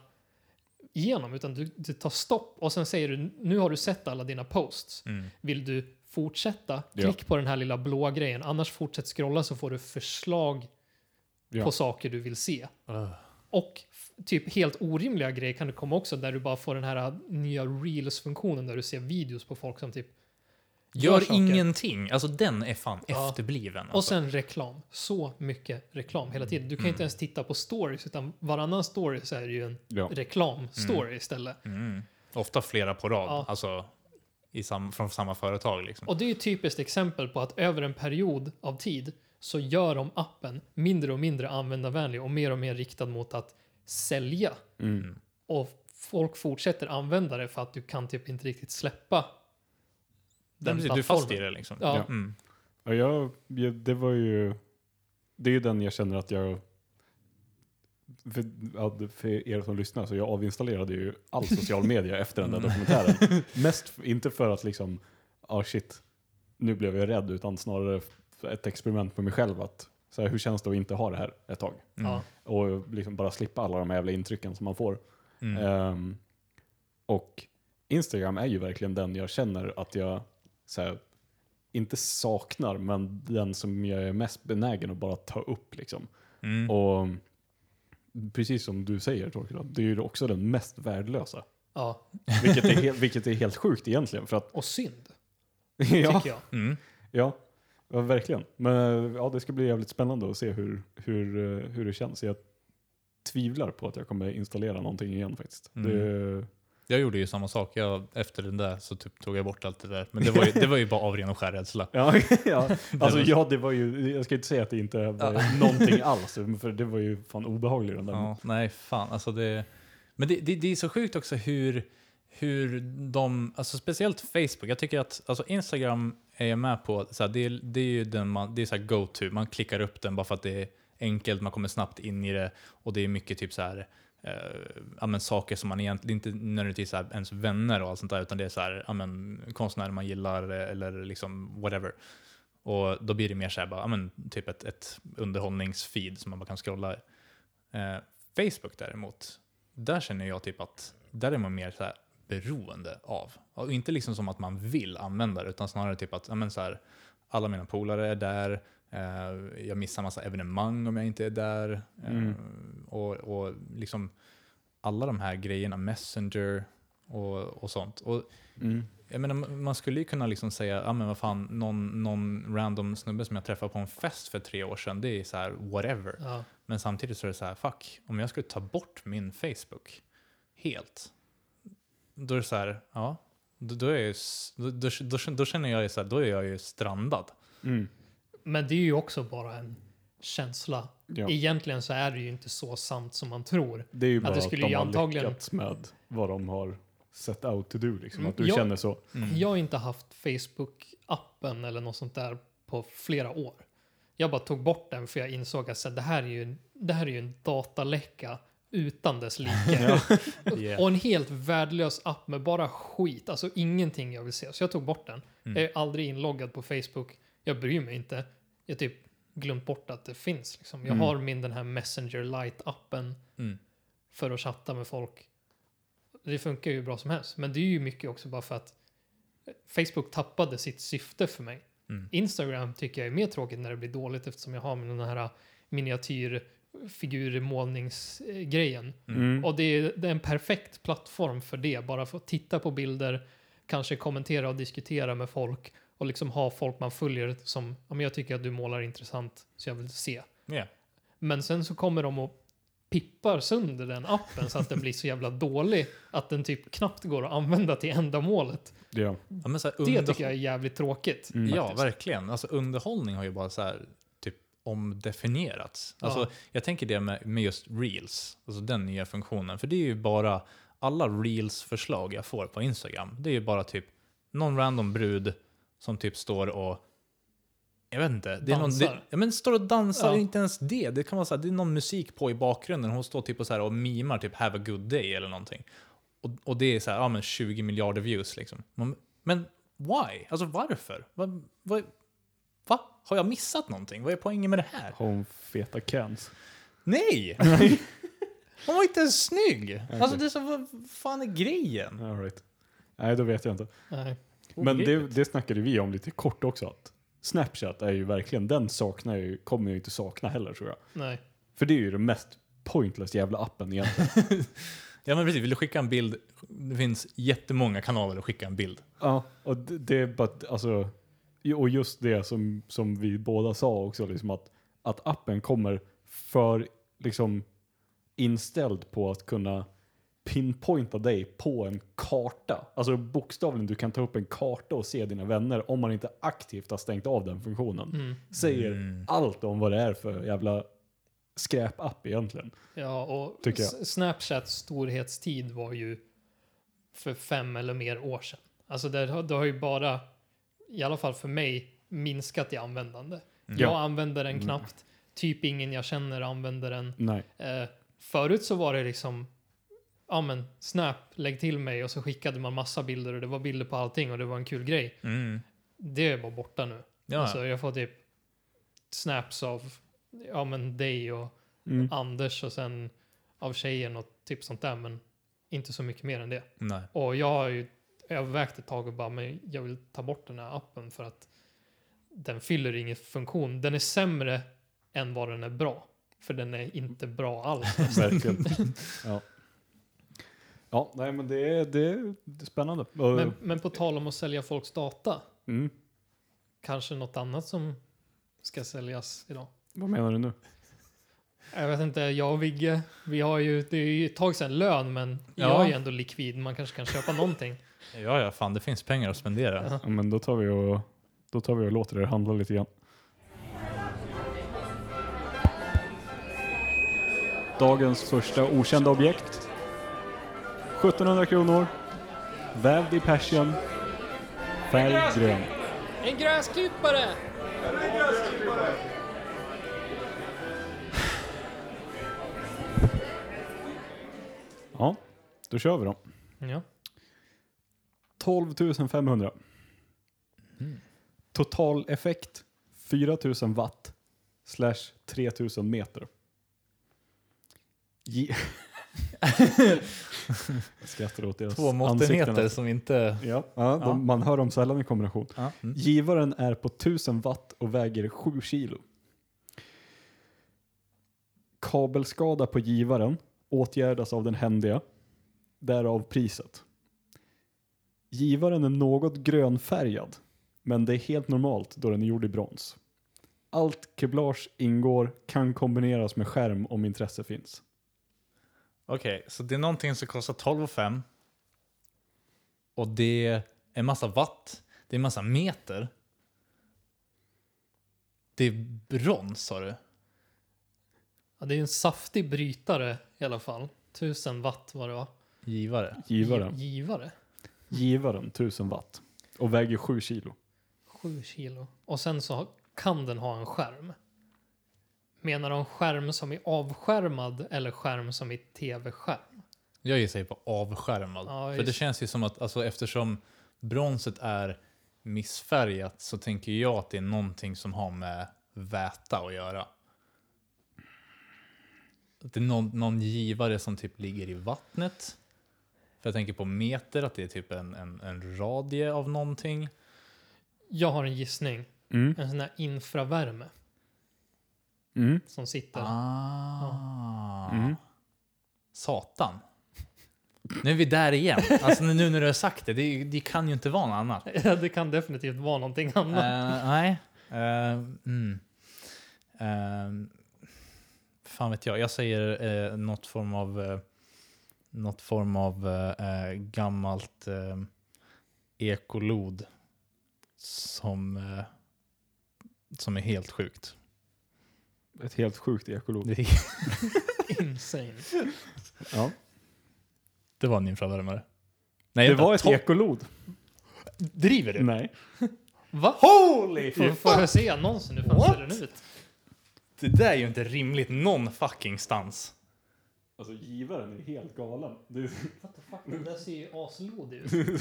S2: igenom utan du, du tar stopp och sen säger du nu har du sett alla dina posts.
S1: Mm.
S2: Vill du fortsätta?
S3: Ja.
S2: Klick på den här lilla blåa grejen annars fortsätt scrolla så får du förslag
S3: Ja.
S2: på saker du vill se. Och f- typ helt orimliga grejer kan det komma också där du bara får den här äh, nya reels-funktionen där du ser videos på folk som typ
S1: Gör
S2: saker.
S1: ingenting. Alltså den är fan
S2: Ja.
S1: efterbliven.
S2: Och
S1: Alltså.
S2: sen reklam. Så mycket reklam hela tiden. Du kan
S3: Mm.
S2: inte ens titta på stories utan varannan story så är det ju en
S3: Ja.
S2: reklamstory istället.
S1: Mm. Ofta flera på rad.
S2: Ja.
S1: Alltså i sam- från samma företag liksom.
S2: Och det är ju ett typiskt exempel på att över en period av tid så gör de appen mindre och mindre användarvänlig och mer och mer riktad mot att sälja.
S3: Mm.
S2: Och folk fortsätter använda det för att du kan typ inte riktigt släppa
S1: Den
S2: den
S1: precis, du är fast i
S2: plattformen.
S1: det liksom.
S2: Ja.
S1: Mm.
S3: Ja, jag, jag, det var ju... Det är ju den jag känner att jag... För, ja, för er som lyssnar, så jag avinstallerade ju all social media efter den där
S2: Mm.
S3: dokumentären. Mest f- inte för att liksom, ah shit, nu blev jag rädd, utan snarare f- ett experiment med mig själv. att så här, Hur känns det att inte ha det här ett tag?
S1: Mm.
S2: Ja.
S3: Och liksom bara slippa alla de här jävla intrycken som man får.
S1: Mm.
S3: Ehm, och Instagram är ju verkligen den jag känner att jag så här, inte saknar, men den som jag är mest benägen att bara ta upp. Liksom.
S1: Mm.
S3: Och precis som du säger Torkel, att det är ju också den mest värdelösa.
S2: Ja.
S3: Vilket är, he- vilket är helt sjukt egentligen. För att,
S2: Och synd,
S3: ja,
S2: tycker jag.
S1: Mm.
S3: ja, ja, verkligen. Men ja, det ska bli jävligt spännande att se hur, hur, eh, hur det känns. Jag tvivlar på att jag kommer installera någonting igen faktiskt.
S1: Mm.
S3: Det,
S1: Jag gjorde ju samma sak. Jag, efter den där så typ tog jag bort allt det där. Men det var ju, det var ju bara av ren och skär rädsla.
S3: Ja, ja. Alltså, ja, det var ju, jag ska inte säga att det inte var någonting alls, för det var ju fan obehagligt. Den där.
S1: Ja, nej, fan. Alltså det, men det, det, det är så sjukt också hur, hur de, alltså speciellt Facebook, jag tycker att alltså Instagram är jag med på, så här, det, är- det är ju den man, det är så här go-to, man klickar upp den bara för att det är enkelt, man kommer snabbt in i det och det är mycket typ så här, eh, ja, men saker som man egentligen inte nödvändigtvis är ens vänner och allt sånt där, utan det är så här, ja, men, konstnärer man gillar eh, eller liksom whatever. Och då blir det mer så här, bara, ja, men, typ ett, ett underhållningsfeed som man bara kan scrolla i. Eh, Facebook däremot, där känner jag typ att där är man mer så här beroende av. Och inte liksom som att man vill använda det, utan snarare typ att ja, men så här, alla mina polare är där, eh, jag missar massa evenemang om jag inte är där. Eh,
S3: Mm.
S1: och, och liksom alla de här grejerna, Messenger och, och sånt. Och
S3: Mm.
S1: jag menar, man- man skulle ju kunna liksom säga, ja ah, men vad fan, någon, någon random snubbe som jag träffade på en fest för tre år sedan, det är så här whatever.
S2: Ja.
S1: Men samtidigt så är det så här, fuck, om jag skulle ta bort min Facebook helt, då är det så här, ja, då, då, är jag ju, s- då, då, då, då känner jag ju så här, då är jag ju strandad.
S3: Mm.
S2: Men det är ju också bara en känsla.
S3: Ja.
S2: Egentligen så är det ju inte så sant som man tror.
S3: Det är ju bara
S2: det
S3: att,
S2: skulle
S3: de
S2: ju
S3: har
S2: antagligen-
S3: lyckats med vad de har set out to do. Liksom.
S2: Mm,
S3: Att du
S2: ja.
S3: känner så.
S1: Mm.
S2: Jag har inte haft Facebook-appen eller något sånt där på flera år. Jag bara tog bort den för jag insåg att så, det, här är ju, det här är ju en dataläcka utan dess like.
S1: Yeah.
S2: Och en helt värdelös app med bara skit, alltså ingenting jag vill se. Så jag tog bort den.
S1: Mm.
S2: Jag är aldrig inloggad på Facebook. Jag bryr mig inte. Jag typ glömt bort att det finns. Liksom. Jag
S3: Mm.
S2: har min den här Messenger Lite-appen
S1: Mm.
S2: för att chatta med folk. Det funkar ju bra som helst. Men det är ju mycket också bara för att Facebook tappade sitt syfte för mig.
S1: Mm.
S2: Instagram tycker jag är mer tråkigt när det blir dåligt eftersom jag har min den här äh, miniatyrfigurmålningsgrejen.
S3: Mm.
S2: Och det är, det är en perfekt plattform för det. Bara få titta på bilder, kanske kommentera och diskutera med folk och liksom ha folk man följer som ja, men jag tycker att du målar intressant så jag vill se.
S1: Yeah.
S2: Men sen så kommer de och pippar sönder den appen så att den blir så jävla dålig att den typ knappt går att använda till ändamålet.
S3: Ja.
S1: Ja, men så här,
S2: Det
S1: under-
S2: tycker jag är jävligt tråkigt.
S3: Mm.
S1: Ja,
S2: faktiskt.
S1: verkligen. Alltså, underhållning har ju bara så här, typ, omdefinierats. Alltså,
S2: Ja.
S1: Jag tänker det med, med just reels, alltså den nya funktionen. För det är ju bara alla reels-förslag jag får på Instagram. Det är ju bara typ någon random brud som typ står och jag vet inte. Det är någon,
S2: Dansar.
S1: det, ja, men står och dansar,
S2: Ja.
S1: inte ens det. Det kan vara så här, det är någon musik på i bakgrunden. Hon står typ och, så här och mimar typ “Have a good day” eller någonting. Och, och det är så här, ja men 20 miljarder views liksom. Man, men why? Alltså varför? Va, va, va? Har jag missat någonting? Vad är poängen med det här?
S3: Har hon feta cans?
S1: Nej! Hon var inte ens snygg! Alltså det är så, vad fan är grejen?
S3: All right. Nej, då vet jag inte.
S2: Nej.
S3: Men det,
S1: Obegripligt.
S3: det snackade vi om lite kort också. Att Snapchat är ju verkligen, den saknar jag ju, kommer jag ju inte sakna heller tror jag.
S2: Nej.
S3: För det är ju den mest pointless jävla appen egentligen.
S1: Ja men precis, vill du skicka en bild? Det finns jättemånga kanaler att skicka en bild.
S3: Ja, och det, det är bara, alltså, ju- och just det som, som vi båda sa också, liksom att, att appen kommer för liksom inställd på att kunna pinpointa dig på en karta. Alltså bokstavligen, du kan ta upp en karta och se dina vänner om man inte aktivt har stängt av den funktionen.
S2: Mm.
S3: Säger
S1: Mm.
S3: allt om vad det är för jävla skräpapp egentligen.
S2: Ja, och
S3: Tycker jag.
S2: S- Snapchats storhetstid var ju för fem eller mer år sedan. Alltså det, har- det har ju bara, i alla fall för mig, minskat i användande.
S3: Mm.
S2: Jag använder den knappt, typ ingen jag känner använder den.
S3: Nej.
S2: Eh, förut så var det liksom, ja men Snap, lägg till mig och så skickade man massa bilder och det var bilder på allting och det var en kul grej.
S1: Mm.
S2: Det är bara borta nu.
S1: Ja.
S2: Alltså jag får typ snaps av, ja men dig och
S3: Mm.
S2: Anders och sen av tjejen och typ sånt där, men inte så mycket mer än det.
S1: Nej.
S2: Och jag har ju övervägt ett tag och bara, men jag vill ta bort den här appen för att den fyller ingen funktion. Den är sämre än vad den är bra, för den är inte bra alls.
S3: Verkligen. ja. ja, nej men det är, det är, det är spännande. Och-
S2: Men, men på tal om att sälja folks data,
S3: Mm.
S2: kanske något annat som ska säljas idag?
S3: Vad menar du nu?
S2: Jag vet inte, jag och Vigge, vi har ju, det är ju ett tag sedan lön, men jag
S1: Ja.
S2: är ju ändå likvid, man kanske kan köpa någonting.
S1: Ja, ja, fan det finns pengar att spendera.
S2: Ja.
S3: Ja, men då tar vi och, då tar vi och låter det handla lite grann. Dagens första okända objekt. 1700 kronor. Vävd i persien. Färg grön.
S2: En gräsklippare!
S3: Ja, då kör vi då.
S2: Ja.
S3: 12 500. Total effekt 4000 watt slash 3000 meter. Ge- Jag skrattar åt deras
S1: Två
S3: ansikten.
S1: måttenheter som inte...
S3: Ja, ja, de,
S1: Ja.
S3: Man hör dem sällan i kombination.
S1: Ja. Mm.
S3: Givaren är på 1000 watt och väger 7 kilo. Kabelskada på givaren åtgärdas av den händiga, därav priset. Givaren är något grönfärgad, men det är helt normalt då den är gjord i brons. Allt keblage ingår, kan kombineras med skärm om intresse finns.
S1: Okej, så det är någonting som kostar 12 500 och det är en massa watt, det är en massa meter. Det är brons sa du?
S2: Ja, det är en saftig brytare i alla fall. 1000 watt var det va?
S1: Givare.
S3: Givaren,
S2: Givare.
S3: givaren 1000 watt och väger 7 kilo.
S2: 7 kilo. Och sen så kan den ha en skärm. Menar de skärm som är avskärmad eller skärm som är tv-skärm?
S1: Jag gissar ju på avskärmad.
S2: Ja,
S1: För det
S2: just-
S1: känns ju som att alltså, eftersom bronset är missfärgat så tänker jag att det är någonting som har med väta att göra. Att det är någon, någon givare som typ ligger i vattnet. För jag tänker på meter, att det är typ en, en, en radie av någonting.
S2: Jag har en gissning.
S3: Mm.
S2: En sån här infravärme
S3: Mm.
S2: som sitter.
S1: Ah.
S3: Mm.
S1: Satan. Nu är vi där igen. Alltså nu när du har sagt det, det, det kan ju inte vara något annat.
S2: det kan definitivt vara någonting annat.
S1: Eh, nej. Eh, mm. Eh, fan vet jag. Jag säger uh, något form av, uh, något form av eh, eh, gammalt eh, ekolod som, eh, som är helt sjukt.
S3: Ett helt sjukt ekolod.
S1: Det,
S2: Insane.
S3: Ja.
S1: det var en infravärmare. Nej,
S3: Det
S1: vänta,
S3: var ett
S1: to-
S3: ekolod.
S1: Driver du?
S3: Nej.
S2: Va?
S1: Holy
S2: Får, får jag se annonsen? Hur fan ser
S1: What?
S2: den ut?
S1: Det där är ju inte rimligt någon fucking stans.
S3: Alltså givaren är helt galen.
S2: Den där ser ju aslodig ut.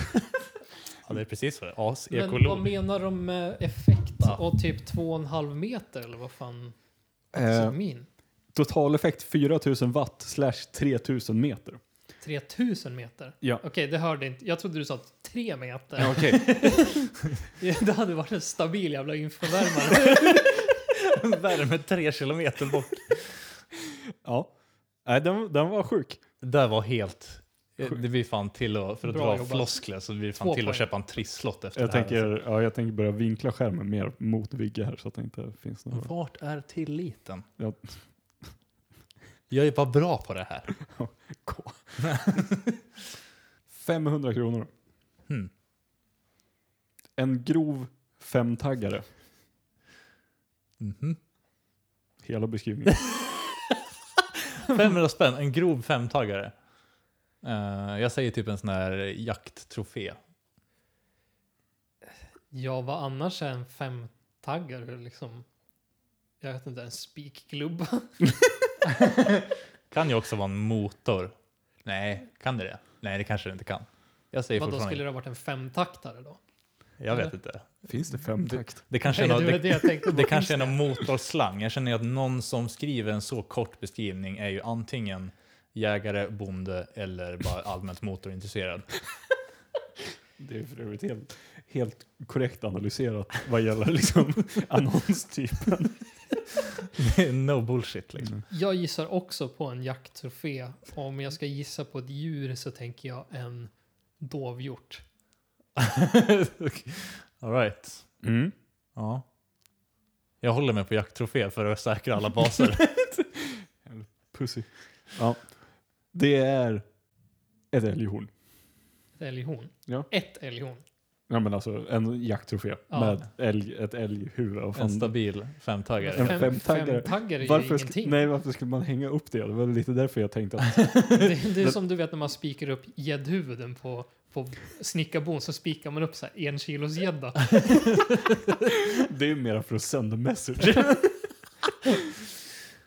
S1: Ja, det är precis vad det är.
S2: Men vad
S1: As-ekolog.
S2: menar de med effekt
S1: Va?
S2: och typ två och en halv meter eller vad fan?
S3: Eh.
S2: Min.
S3: Totaleffekt 4000 watt slash 3000 meter.
S2: 3000 meter?
S3: Ja.
S2: Okej, det hörde inte. Jag trodde du sa tre meter.
S3: Okej.
S2: Det hade varit en stabil jävla infravärmare.
S1: Värme tre kilometer bort.
S3: ja. Nej, den, den var sjuk.
S1: Det där var helt... eh, Det blir fan till att, för att
S2: Bra
S1: dra
S2: jobbat.
S1: floskler så blir det fan
S2: Två
S1: till
S2: poäng.
S1: att köpa en trisslott efter
S3: Jag
S1: det här.
S3: tänker, ja, jag tänker börja vinkla skärmen mer mot Vigge här så att det inte finns några.
S1: Alltså. Vart är tilliten?
S3: Ja.
S1: Jag är bara bra på det här.
S3: K. 500 kronor.
S1: Hmm.
S3: En grov femtaggare.
S1: Mhm.
S3: Hela beskrivningen.
S1: 500 spänn, en grov femtaggare. Eh, jag säger typ en sån här jakttrofé.
S2: ja, vad annars är en femtaggare liksom? Jag vet inte, en spikklubba?
S1: Kan ju också vara en motor. Nej, kan det det? Nej, det kanske det inte kan. Jag säger
S2: Vadå,
S1: fortfarande...
S2: skulle det ha varit en femtaktare då?
S1: Jag vet inte.
S3: Finns det femtakt?
S1: Det kanske
S2: Nej,
S1: är något,
S2: det var
S1: det,
S2: det jag tänkte på.
S1: Det kanske är någon motorslang. Jag känner ju att någon som skriver en så kort beskrivning är ju antingen jägare, bonde eller bara allmänt motorintresserad.
S3: Det är för övrigt helt, helt korrekt analyserat vad gäller liksom annonstypen.
S1: no bullshit liksom.
S2: Jag gissar också på en jakttrofé. Om jag ska gissa på ett djur så tänker jag en dovhjort.
S1: All right.
S3: Mm.
S1: Ja. Jag håller mig på jakttrofé för att säkra alla baser.
S3: Pussy. Ja. Det är ett älghorn.
S2: Ett älghorn.
S3: Ja.
S2: Ett älghorn.
S3: Ja men alltså en jakttrofé
S2: Ja.
S3: med älg, ett älghuvud. Vad
S1: En
S3: fan-
S1: stabil femtaggare.
S3: En femtaggare.
S2: femtaggare är ju
S3: Varför, sk-
S2: ingenting.
S3: nej, varför skulle man hänga upp det? Det var lite därför jag tänkte att
S2: Det, det är som du vet när man spikar upp gäddhuvuden på, på snickarbon så spikar man upp så här en kilos gädda.
S3: det är mera för att sända message.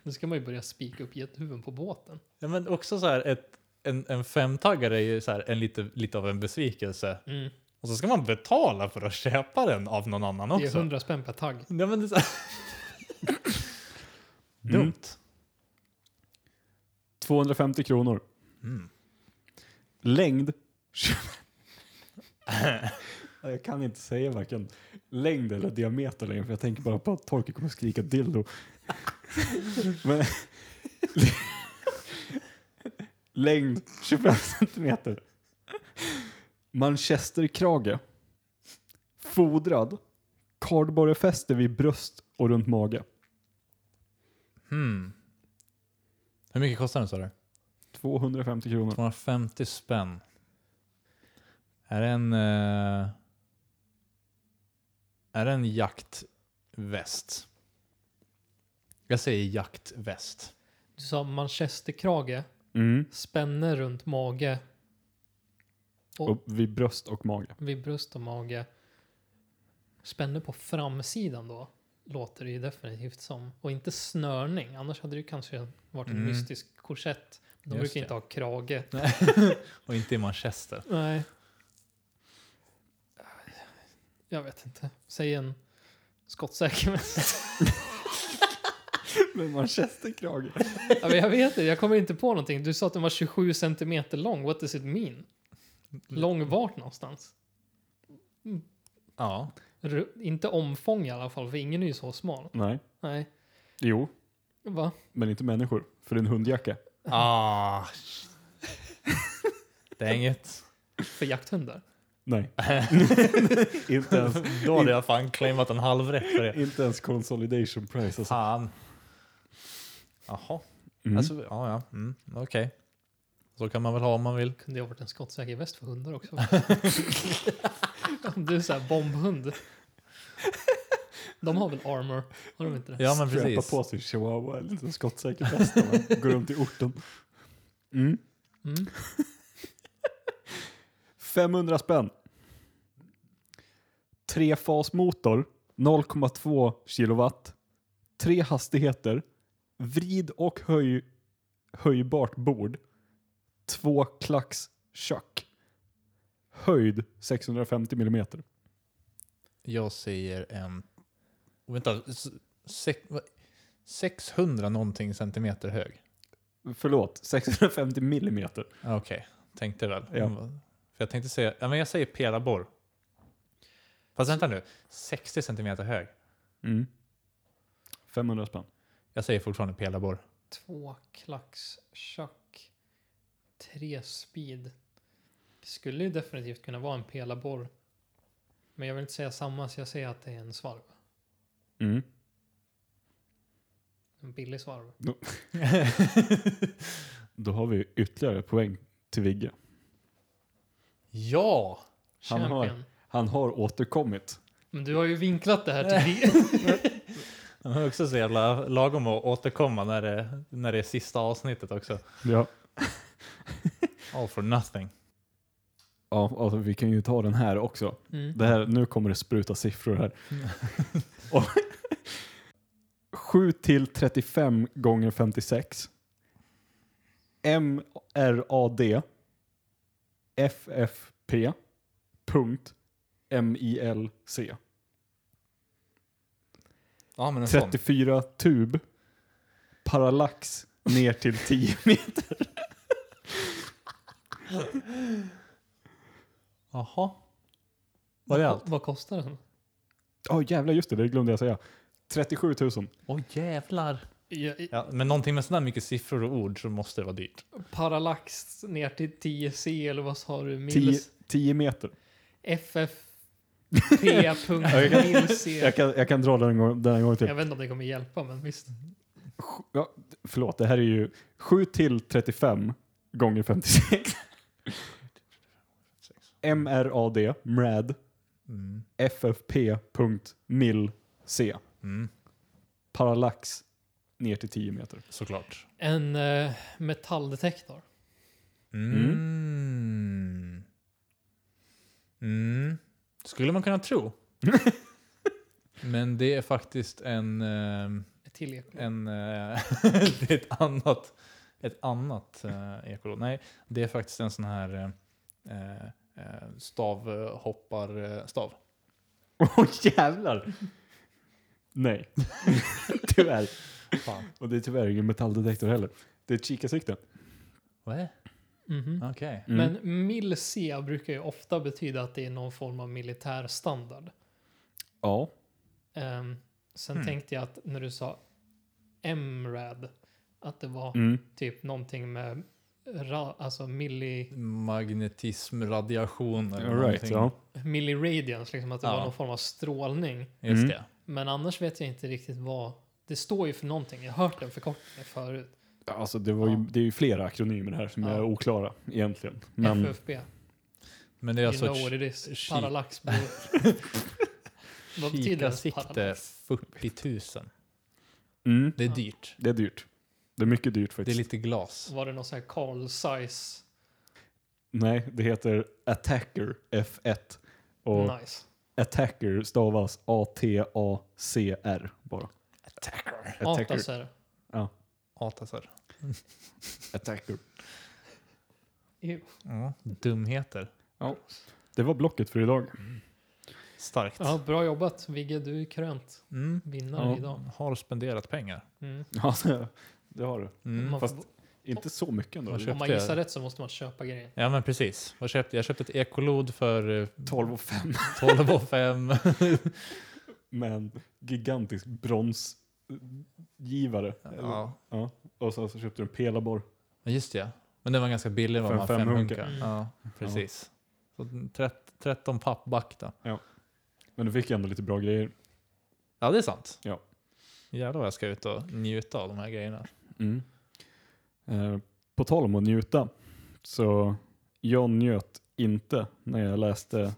S2: Nu ska man ju börja spika upp gäddhuvuden på båten.
S1: Ja, men också så här ett, en, en femtaggare är ju så här en lite, lite av en besvikelse.
S2: Mm.
S1: Och så ska man betala för att köpa den av någon annan
S2: Det är
S1: också.
S2: 100 spänn per tagg.
S1: Ja, men det är så här.
S3: Mm.
S1: Dumt.
S3: 250 kronor.
S1: Mm.
S3: Längd. Ja, jag kan inte säga varken längd eller diameter längre för jag tänker bara på att Torkel kommer skrika dildo. men, Längd 25 centimeter. Manchesterkrage. Fodrad. Kardborrefäste vid bröst och runt mage.
S1: Hmm. Hur mycket kostar den sa du?
S3: 250 kronor.
S1: 250 spänn. Är det en... eh, är det en jaktväst? Jag säger jaktväst.
S2: Du sa manchesterkrage,
S3: Mm.
S2: spänne runt mage,
S3: Och vid bröst och mage.
S2: vid bröst och mage. Spänne på framsidan då, låter det ju definitivt som. Och inte snörning, annars hade det ju kanske varit en
S1: Mm.
S2: mystisk korsett. De
S1: Just
S2: brukar
S1: det.
S2: inte ha krage.
S1: Och inte i Manchester.
S2: Nej. Jag vet inte. Säg en skottsäker väst.
S3: Men manchesterkrage.
S2: ja, men jag vet inte, jag kommer inte på någonting. Du sa att den var 27 centimeter lång. What does it mean? Lång vart någonstans?
S1: Ja.
S2: Ru- inte omfång i alla fall, för ingen är ju så smal.
S3: Nej.
S2: Nej.
S3: Jo,
S2: Va?
S3: men inte människor. För det är en hundjacka.
S1: Ah. Det är inget.
S2: För jakthundar.
S3: Nej. inte, ens,
S1: Då hade jag fan claimat en halv rätt för det.
S3: inte ens consolidation price. Alltså.
S1: Fan. Jaha.
S3: Mm.
S1: Alltså, ja, ja. Mm, Okej. Så kan man väl ha om man vill.
S2: Kunde jag ha varit en skottsäker väst för hundar också? Om du är såhär bombhund. De har väl armor? Har de inte det?
S1: Ja, men
S3: Strappa
S1: precis.
S3: på sig chihuahua, en liten skottsäker väst när man går runt i orten. Mm.
S2: Mm.
S3: 500 spänn. Trefasmotor, 0,2 kilowatt, tre hastigheter, vrid och höj, höjbart bord, två klacks kök. Höjd 650 millimeter.
S1: Jag säger en... Oh, vänta. s- Sex, vad- 600 någonting centimeter hög.
S3: Förlåt, 650 millimeter.
S1: Ja, Okej, tänkte väl.
S3: Ja.
S1: För jag tänkte säga... Ja, men jag säger pelarborr. Fast vänta nu. 60 centimeter hög.
S3: Mm. 500 spänn.
S1: Jag säger fortfarande pelarborr.
S2: Två klax chuck. Tre speed. Det skulle ju definitivt kunna vara en pelarborr. Men jag vill inte säga samma så jag säger att det är en svarv.
S3: Mm.
S2: En billig svarv.
S3: Då har vi ytterligare poäng till Vigge.
S1: Ja!
S3: Han har-
S2: Champion.
S3: Han har återkommit.
S2: Men du har ju vinklat det här till
S1: De är också så jävla lagom att återkomma när det, när det är sista avsnittet också.
S3: Ja.
S1: All for nothing.
S3: Ja, alltså, vi kan ju ta den här också.
S2: mm.
S3: Det här, nu kommer det spruta siffror här. Och 7 till 35 gånger 56. MRAD FFP punkt MILC.
S1: Ja, men en sån.
S3: 34 tub parallax ner till 10 meter.
S1: Jaha. Var det allt?
S2: Vad kostar den?
S3: Ja jävlar just det, det glömde jag säga. 37 000.
S1: Åh jävlar.
S2: Jag,
S1: Ja, men någonting med sådär mycket siffror och ord så måste det vara dyrt.
S2: Parallax ner till 10C eller vad sa du?
S3: 10,
S2: Mils?
S3: 10 meter.
S2: FFP.milc.
S3: Jag kan, typ. jag kan dra den en gång, den en gång till.
S2: Jag vet inte om det kommer hjälpa men visst.
S3: Sju- Ja, förlåt, det här är ju 7 till 35 gånger 56. MRAD, MRAD,
S1: Mm.
S3: FFP.milc.
S1: Mm.
S3: Parallax ner till 10 meter.
S1: Såklart.
S2: En eh, metalldetektor.
S1: Mm. Mm. Skulle man kunna tro. men det är faktiskt en... ehm,
S2: Ett till eko.
S1: en eh, det är ett annat, ett annat eh, ekolod. Nej, det är faktiskt en sån här eh, eh, stavhopparstav.
S3: Åh jävlar! Nej, tyvärr.
S1: Fan.
S3: Och det är tyvärr ingen metalldetektor heller. Det är ett kikarsikte.
S1: Vad är
S2: Mhm.
S1: det? Okej.
S3: Mm.
S2: Men milc brukar ju ofta betyda att det är någon form av militär standard.
S3: Ja.
S2: Ehm, sen
S1: Hmm.
S2: tänkte jag att när du sa MRAD, att det var
S3: Mm.
S2: typ någonting med ra, alltså milli,
S1: Magnetism, radiation eller
S3: All right,
S1: någonting.
S3: ja.
S2: milliradians, liksom att det
S1: Ja.
S2: var någon form av strålning.
S1: Just
S3: Mm.
S1: det.
S2: Men annars vet jag inte riktigt vad, det står ju för någonting, jag har hört den förkortningen förut.
S3: Alltså det, var ju,
S2: Ja.
S3: det är ju flera akronymer här som
S2: Ja.
S3: är oklara egentligen. Men
S2: FFB,
S1: Men det är
S2: you
S1: alltså
S2: know what
S1: ett
S2: it is,
S1: ki-
S2: parallax. vad betyder ens
S1: kikarsikte
S2: parallax?
S1: 40 000.
S3: mm,
S1: Det är
S2: Ja.
S1: dyrt.
S3: det är dyrt. Det är mycket dyrt
S1: Det är
S3: faktiskt.
S1: lite glas.
S2: Var det någon sån här Carl Zeiss?
S3: Nej, det heter Attacker F1. Och
S2: Nice.
S3: Attacker stavas A-T-A-C-R bara.
S1: Attacker. alltså.
S3: Attacker.
S2: Atasar.
S1: Atasar.
S3: Attacker.
S2: Ew.
S1: Ja, dumheter.
S3: Det var blocket för idag.
S1: Starkt.
S2: Ja, bra jobbat Vigge, du är krönt
S1: Mm.
S2: vinnare
S3: Ja.
S2: idag.
S1: Har spenderat pengar.
S2: Mm.
S3: Ja, det- det har du.
S1: Mm.
S2: Man
S3: Fast-
S2: får,
S3: Inte så mycket ändå.
S1: Vad
S2: om man
S1: köpte jag?
S2: gissar rätt så måste man köpa grejen.
S1: Ja men precis. Vad köpte jag? Jag köpte ett ekolod för eh,
S3: 12 och 5.
S1: 12 och 5.
S3: Men gigantisk bronsgivare. Eller-
S1: ja.
S3: ja. Och sen så köpte du en pelarborr.
S1: Ja, Just det. Men den var ganska billig. Var
S3: För en
S1: man fem
S3: femhunka.
S1: hunkar.
S2: Mm.
S1: Ja, precis. Så 30, 13 papp back då.
S3: Men du fick ändå lite bra grejer.
S1: Ja, det är sant.
S3: Ja.
S1: Jävlar vad jag ska ut och njuta av de här grejerna.
S3: Eh, på tal om att njuta, så jag njöt inte när jag läste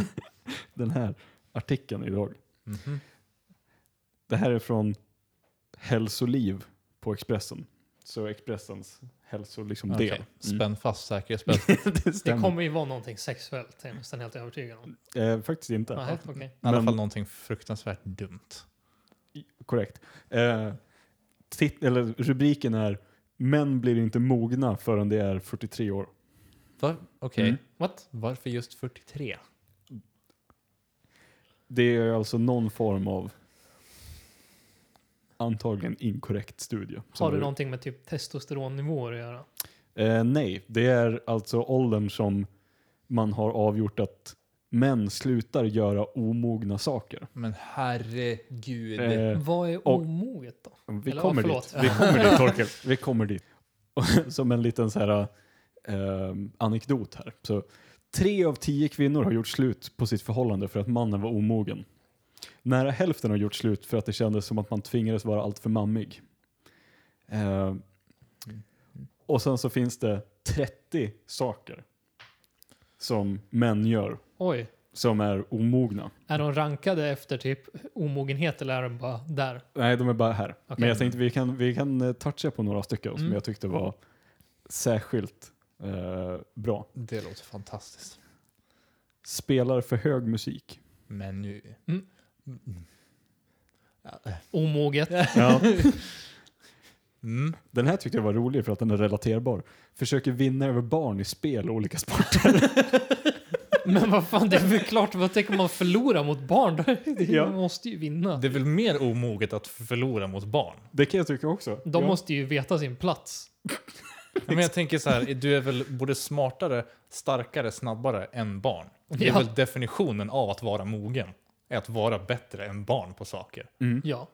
S3: den här artikeln idag.
S1: Mhm.
S3: Det här är från Hälsoliv på Expressen. Så Expressens hälsodel. Liksom
S1: Okej.
S3: del.
S1: Spänn fast säkerhetsbältet.
S3: det
S2: Det
S3: stämmer.
S2: kommer ju vara någonting sexuellt, jag är nästan helt övertygad om.
S3: Eh, faktiskt inte.
S2: Nej, okej.
S1: I alla
S3: Men-
S1: fall någonting fruktansvärt dumt.
S3: Korrekt. Eh, tit- eller rubriken är Män blir inte mogna förrän de är 43 år.
S1: Va? Okej.
S3: Mm.
S2: What?
S1: Varför just 43?
S3: Det är alltså någon form av antagligen inkorrekt studie. som
S2: Har det
S3: är-
S2: någonting med typ testosteronnivåer att göra?
S3: Eh, nej, det är alltså åldern som man har avgjort att män slutar göra omogna saker.
S1: Men herregud.
S3: Eh,
S2: Vad är
S3: och-
S2: omoget då?
S3: vi,
S2: Eller,
S3: kommer
S2: ja, förlåt.
S3: dit. vi kommer dit, Torkel. Vi kommer dit. Och som en liten så här, eh, anekdot här. Så, tre av tio kvinnor har gjort slut på sitt förhållande för att mannen var omogen. Nära hälften har gjort slut för att det kändes som att man tvingades vara alltför mammig. Eh, och sen så finns det 30 saker som män gör
S2: Oj,
S3: som är omogna.
S2: är de rankade efter typ omogenhet eller är de bara där?
S3: Nej, de är bara här.
S2: Okej.
S3: Men jag tänkte vi kan, vi kan eh, toucha på några stycken som
S2: Mm.
S3: jag tyckte var särskilt eh, bra.
S1: det låter fantastiskt.
S3: Spelar för hög musik.
S1: Men nu...
S2: Mm.
S1: Mm. Ja,
S2: Omoget?
S3: Ja,
S1: Mm.
S3: den här tyckte jag var rolig för att den är relaterbar. Försöker vinna över barn i spel och olika sporter.
S2: Men vad fan, det är väl klart, vad tänker man förlora mot barn? då?
S3: Ja.
S2: De måste ju vinna.
S1: Det är väl mer omoget att förlora mot barn?
S3: Det kan jag tycka också.
S2: De
S3: ja.
S2: måste ju veta sin plats.
S1: Ja, Men jag tänker så här, du är väl både smartare, starkare, snabbare än barn? Det är
S2: Ja.
S1: väl definitionen av att vara mogen? Är att vara bättre än barn på saker.
S3: mm.
S2: Ja.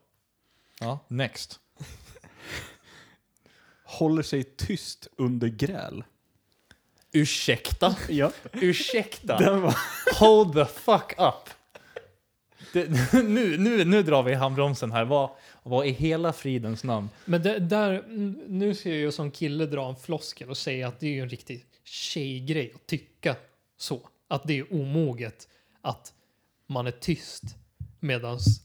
S1: Ja. Next.
S3: Håller sig tyst under gräl.
S1: Ursäkta?
S3: Ja,
S1: Ursäkta?
S3: den var...
S1: Hold the fuck up! Det, nu, nu, nu drar vi i handbromsen här. Vad, vad i hela fridens namn?
S2: Men det, där, n- nu ser jag ju som kille dra en floskel och säga att det är ju en riktig tjejgrej att tycka så. Att det är omoget att man är tyst medans...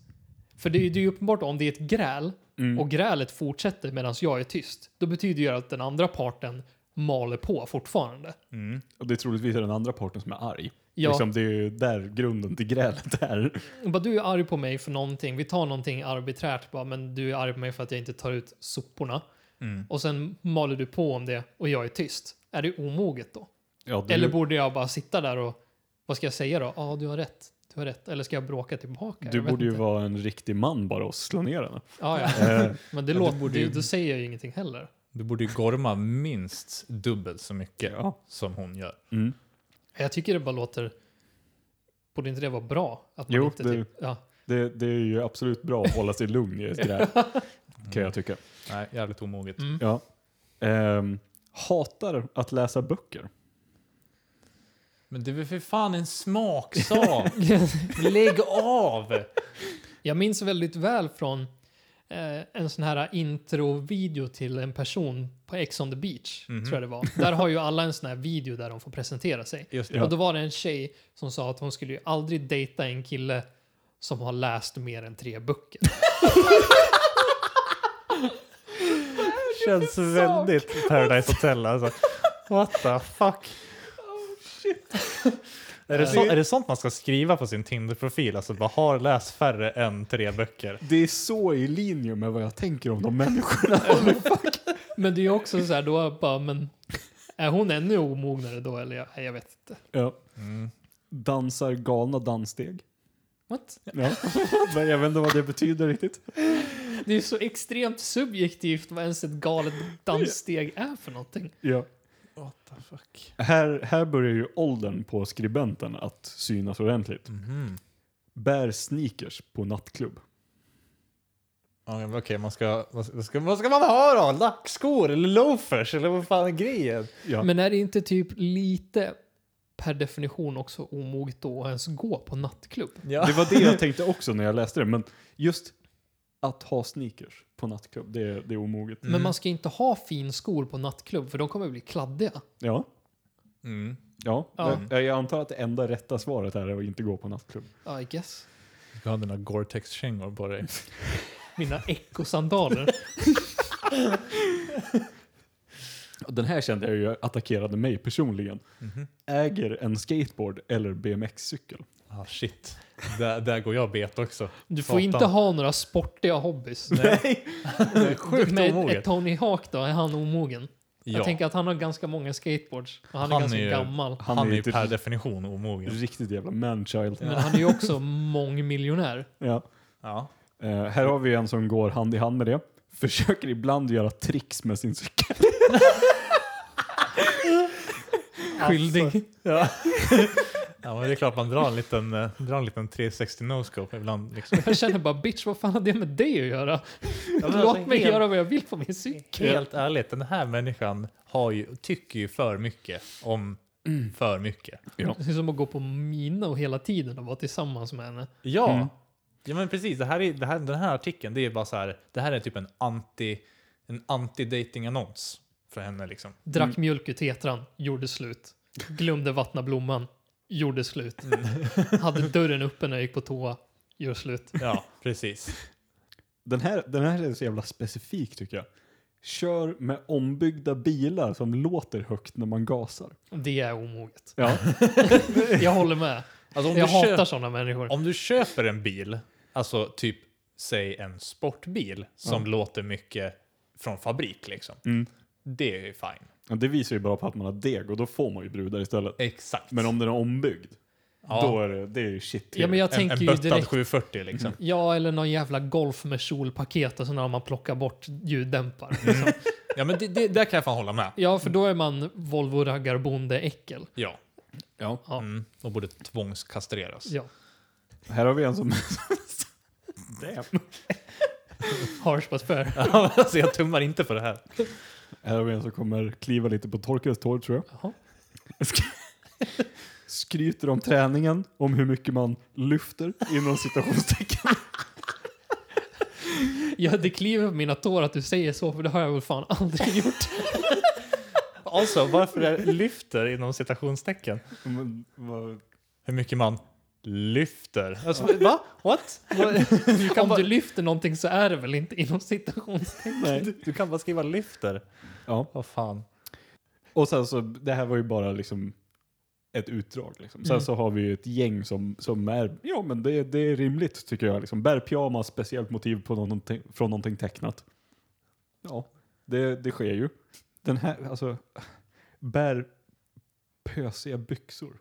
S2: För det, är ju- det är ju uppenbart om det är ett gräl
S3: Mm.
S2: och grälet fortsätter medans jag är tyst. Då betyder ju det att den andra parten maler på fortfarande.
S1: Mm.
S3: Och det är troligtvis den andra parten som är arg.
S2: Ja.
S3: Liksom, det är ju där grunden till grälet är.
S2: Bara, du är arg på mig för någonting. Vi tar någonting arbiträrt. Bara, men du är arg på mig för att jag inte tar ut soporna.
S1: Mm.
S2: Och sen maler du på om det och jag är tyst. Är det omoget då?
S3: Ja, det är
S2: Eller
S3: ju-
S2: borde jag bara sitta där och vad ska jag säga då? Ja, ah, du har rätt. Du har rätt. Eller ska jag bråka tillbaka?
S3: Du
S2: Jag vet
S3: borde ju
S2: inte.
S3: vara en riktig man bara och slå ner henne.
S2: Ja, ja.
S3: Eh,
S2: Men det
S1: Men du
S2: låter,
S1: borde
S2: borde
S1: ju-
S2: du, då säger jag ju ingenting heller.
S1: Du borde ju gorma minst dubbelt så mycket
S3: ja.
S1: som hon gör.
S3: Mm.
S2: Jag tycker det bara låter... Borde inte det vara bra? Att man
S3: Jo,
S2: inte
S3: det-
S2: typ, ja.
S3: Det, det är ju absolut bra att hålla sig
S1: Mm.
S3: lugn i ett gräl, kan jag tycka.
S1: Nej, jävligt omoget.
S2: Mm.
S3: Ja. Ehm, hatar att läsa böcker.
S1: Men det är väl för fan en smaksak? Lägg av!
S2: Jag minns väldigt väl från eh, en sån här introvideo till en person på Ex on the beach,
S1: Mhm.
S2: tror jag det var. Där har ju alla en sån här video där de får presentera sig.
S1: Just
S3: Ja.
S2: Och då var det en tjej som sa att hon skulle ju aldrig dejta en kille som har läst mer än tre böcker.
S1: Känns väldigt Paradise Hotel alltså. What the fuck? Oh, Är det, så, är det sånt man ska skriva på sin Tinder-profil? Alltså bara har läst färre än tre böcker.
S3: Det är så i linje med vad jag tänker om de människorna.
S2: Men det är ju också så här, då bara, men är hon ännu omognare då? Eller jag, nej, jag vet inte.
S3: Ja.
S1: Mm.
S3: Dansar galna danssteg.
S2: What?
S3: Ja. Men jag vet inte vad det betyder riktigt.
S2: Det är ju så extremt subjektivt vad ens ett galet danssteg är för någonting.
S3: Ja.
S1: What the fuck?
S3: Här, här börjar ju åldern på skribenten att synas ordentligt.
S1: Mhm.
S3: Bär sneakers på nattklubb.
S1: Okej, man ska, vad, ska- vad, ska, vad ska man ha då? Lackskor eller loafers eller vad fan är grejen?
S3: Ja.
S2: Men är det inte typ lite per definition också omoget då att ens gå på nattklubb?
S1: Ja.
S3: Det var det jag tänkte också när jag läste det, men just att ha sneakers på nattklubb, det, är- det är omoget.
S1: Mm.
S2: Men man ska inte ha finskor på nattklubb för de kommer bli kladdiga.
S3: Ja,
S1: Mm.
S3: ja.
S2: Ja.
S3: Jag, jag antar att det enda rätta svaret här är att inte gå på nattklubb.
S2: I guess.
S1: Du ska ha dina Gore-Tex-kängor på dig.
S2: Mina ekosandaler.
S3: Och Den här kände jag ju attackerade mig personligen.
S1: Mhm.
S3: Äger en skateboard eller BMX-cykel.
S1: Ah, shit. Där, där går jag bet också.
S2: Du får inte
S1: Satan.
S2: ha några sportiga hobbys.
S1: Nej! Det är sjukt
S2: Med
S1: omoget.
S2: ett Tony Hawk då, är han omogen?
S1: Ja.
S2: Jag tänker att han har ganska många skateboards. Och
S1: Han
S2: han, är ganska
S1: är ju-
S2: gammal.
S1: han, är ju
S3: ett
S1: per definition omogen.
S3: typ riktigt jävla manchild.
S2: Men han är ju också mångmiljonär.
S3: Ja.
S1: Ja.
S3: Eh, här har vi en som går hand i hand med det. Försöker ibland göra tricks med sin cykel.
S2: Skyldig.
S1: Alltså. Ja. ja, men det är klart man drar en liten, eh, drar en liten 360 no-scope ibland. Liksom.
S2: Jag känner bara bitch, vad fan har det med dig att göra? Låt mig göra vad jag vill på min cykel.
S1: Helt ärligt, den här människan har ju, tycker ju för mycket om
S2: Mm.
S1: för mycket.
S3: Ja.
S2: Det är som att gå på mina och hela tiden och vara tillsammans med henne.
S1: Ja, ja men precis. Det här är, det här, den här artikeln, det är bara så här, det här är typ en anti, en anti-dating-annons för henne liksom.
S2: Drack mjölk ur tetran, gjorde slut. Glömde vattna blomman, gjorde slut.
S1: Mm.
S2: Hade dörren öppen när jag gick på toa, gör slut.
S1: Ja, precis.
S3: Den här, den här är så jävla specifik tycker jag. Kör med ombyggda bilar som låter högt när man gasar.
S2: Det är omoget.
S3: Ja,
S2: Jag håller med.
S1: Alltså, om,
S2: Jag
S1: du
S2: hatar
S1: köper,
S2: sådana människor.
S1: om du köper en bil, alltså typ säg en sportbil som låter mycket från fabrik liksom.
S3: Mm.
S1: Det är ju fine.
S3: det visar ju bara på att man har deg och då får man ju brudar istället.
S1: Exakt.
S3: Men om den är ombyggd,
S1: Ja.
S3: då är det, det är ju shit.
S2: Ja, men jag
S1: en,
S2: tänker
S1: en
S2: ju
S1: böttad
S2: direkt... Mm.
S1: 740 liksom.
S2: Ja, eller någon jävla golf med solpaket och sen har man plockat bort ljuddämpare. Liksom.
S1: Ja, men det, det, där kan jag fan hålla med.
S2: Ja, för då är man Volvo raggarbonde-äckel.
S1: Ja.
S3: Ja.
S2: Ja.
S1: Mm. De borde tvångskastreras.
S2: Ja.
S3: Här har vi en som...
S2: Harsh but fair.
S1: Ja, alltså, jag tummar inte på det här.
S3: Här har vi en som kommer kliva lite på torkens tår tror jag.
S2: Jaha.
S3: Skryter om träningen, om hur mycket man lyfter inom citationstecken.
S2: Ja, det kliver på mina tår att du säger så, för det har jag väl fan aldrig gjort.
S1: Alltså, varför är lyfter inom citationstecken?
S3: Men vad-
S1: Hur mycket man lyfter. Alltså, va? What? Du kan,
S2: Om
S1: bara,
S2: du lyfter någonting så är det väl inte inom citationstecken.
S3: Nej.
S1: du kan bara skriva lyfter.
S3: Ja.
S1: Vad fan.
S3: Och sen så, det här var ju bara liksom ett utdrag. Liksom. Sen
S2: Mm.
S3: så har vi ju ett gäng som, som är, ja men det, det är rimligt tycker jag. Liksom. Bär pyjamas, speciellt motiv på någonting, från någonting tecknat. Ja, det, det sker ju. Den här, alltså, bär pösiga byxor.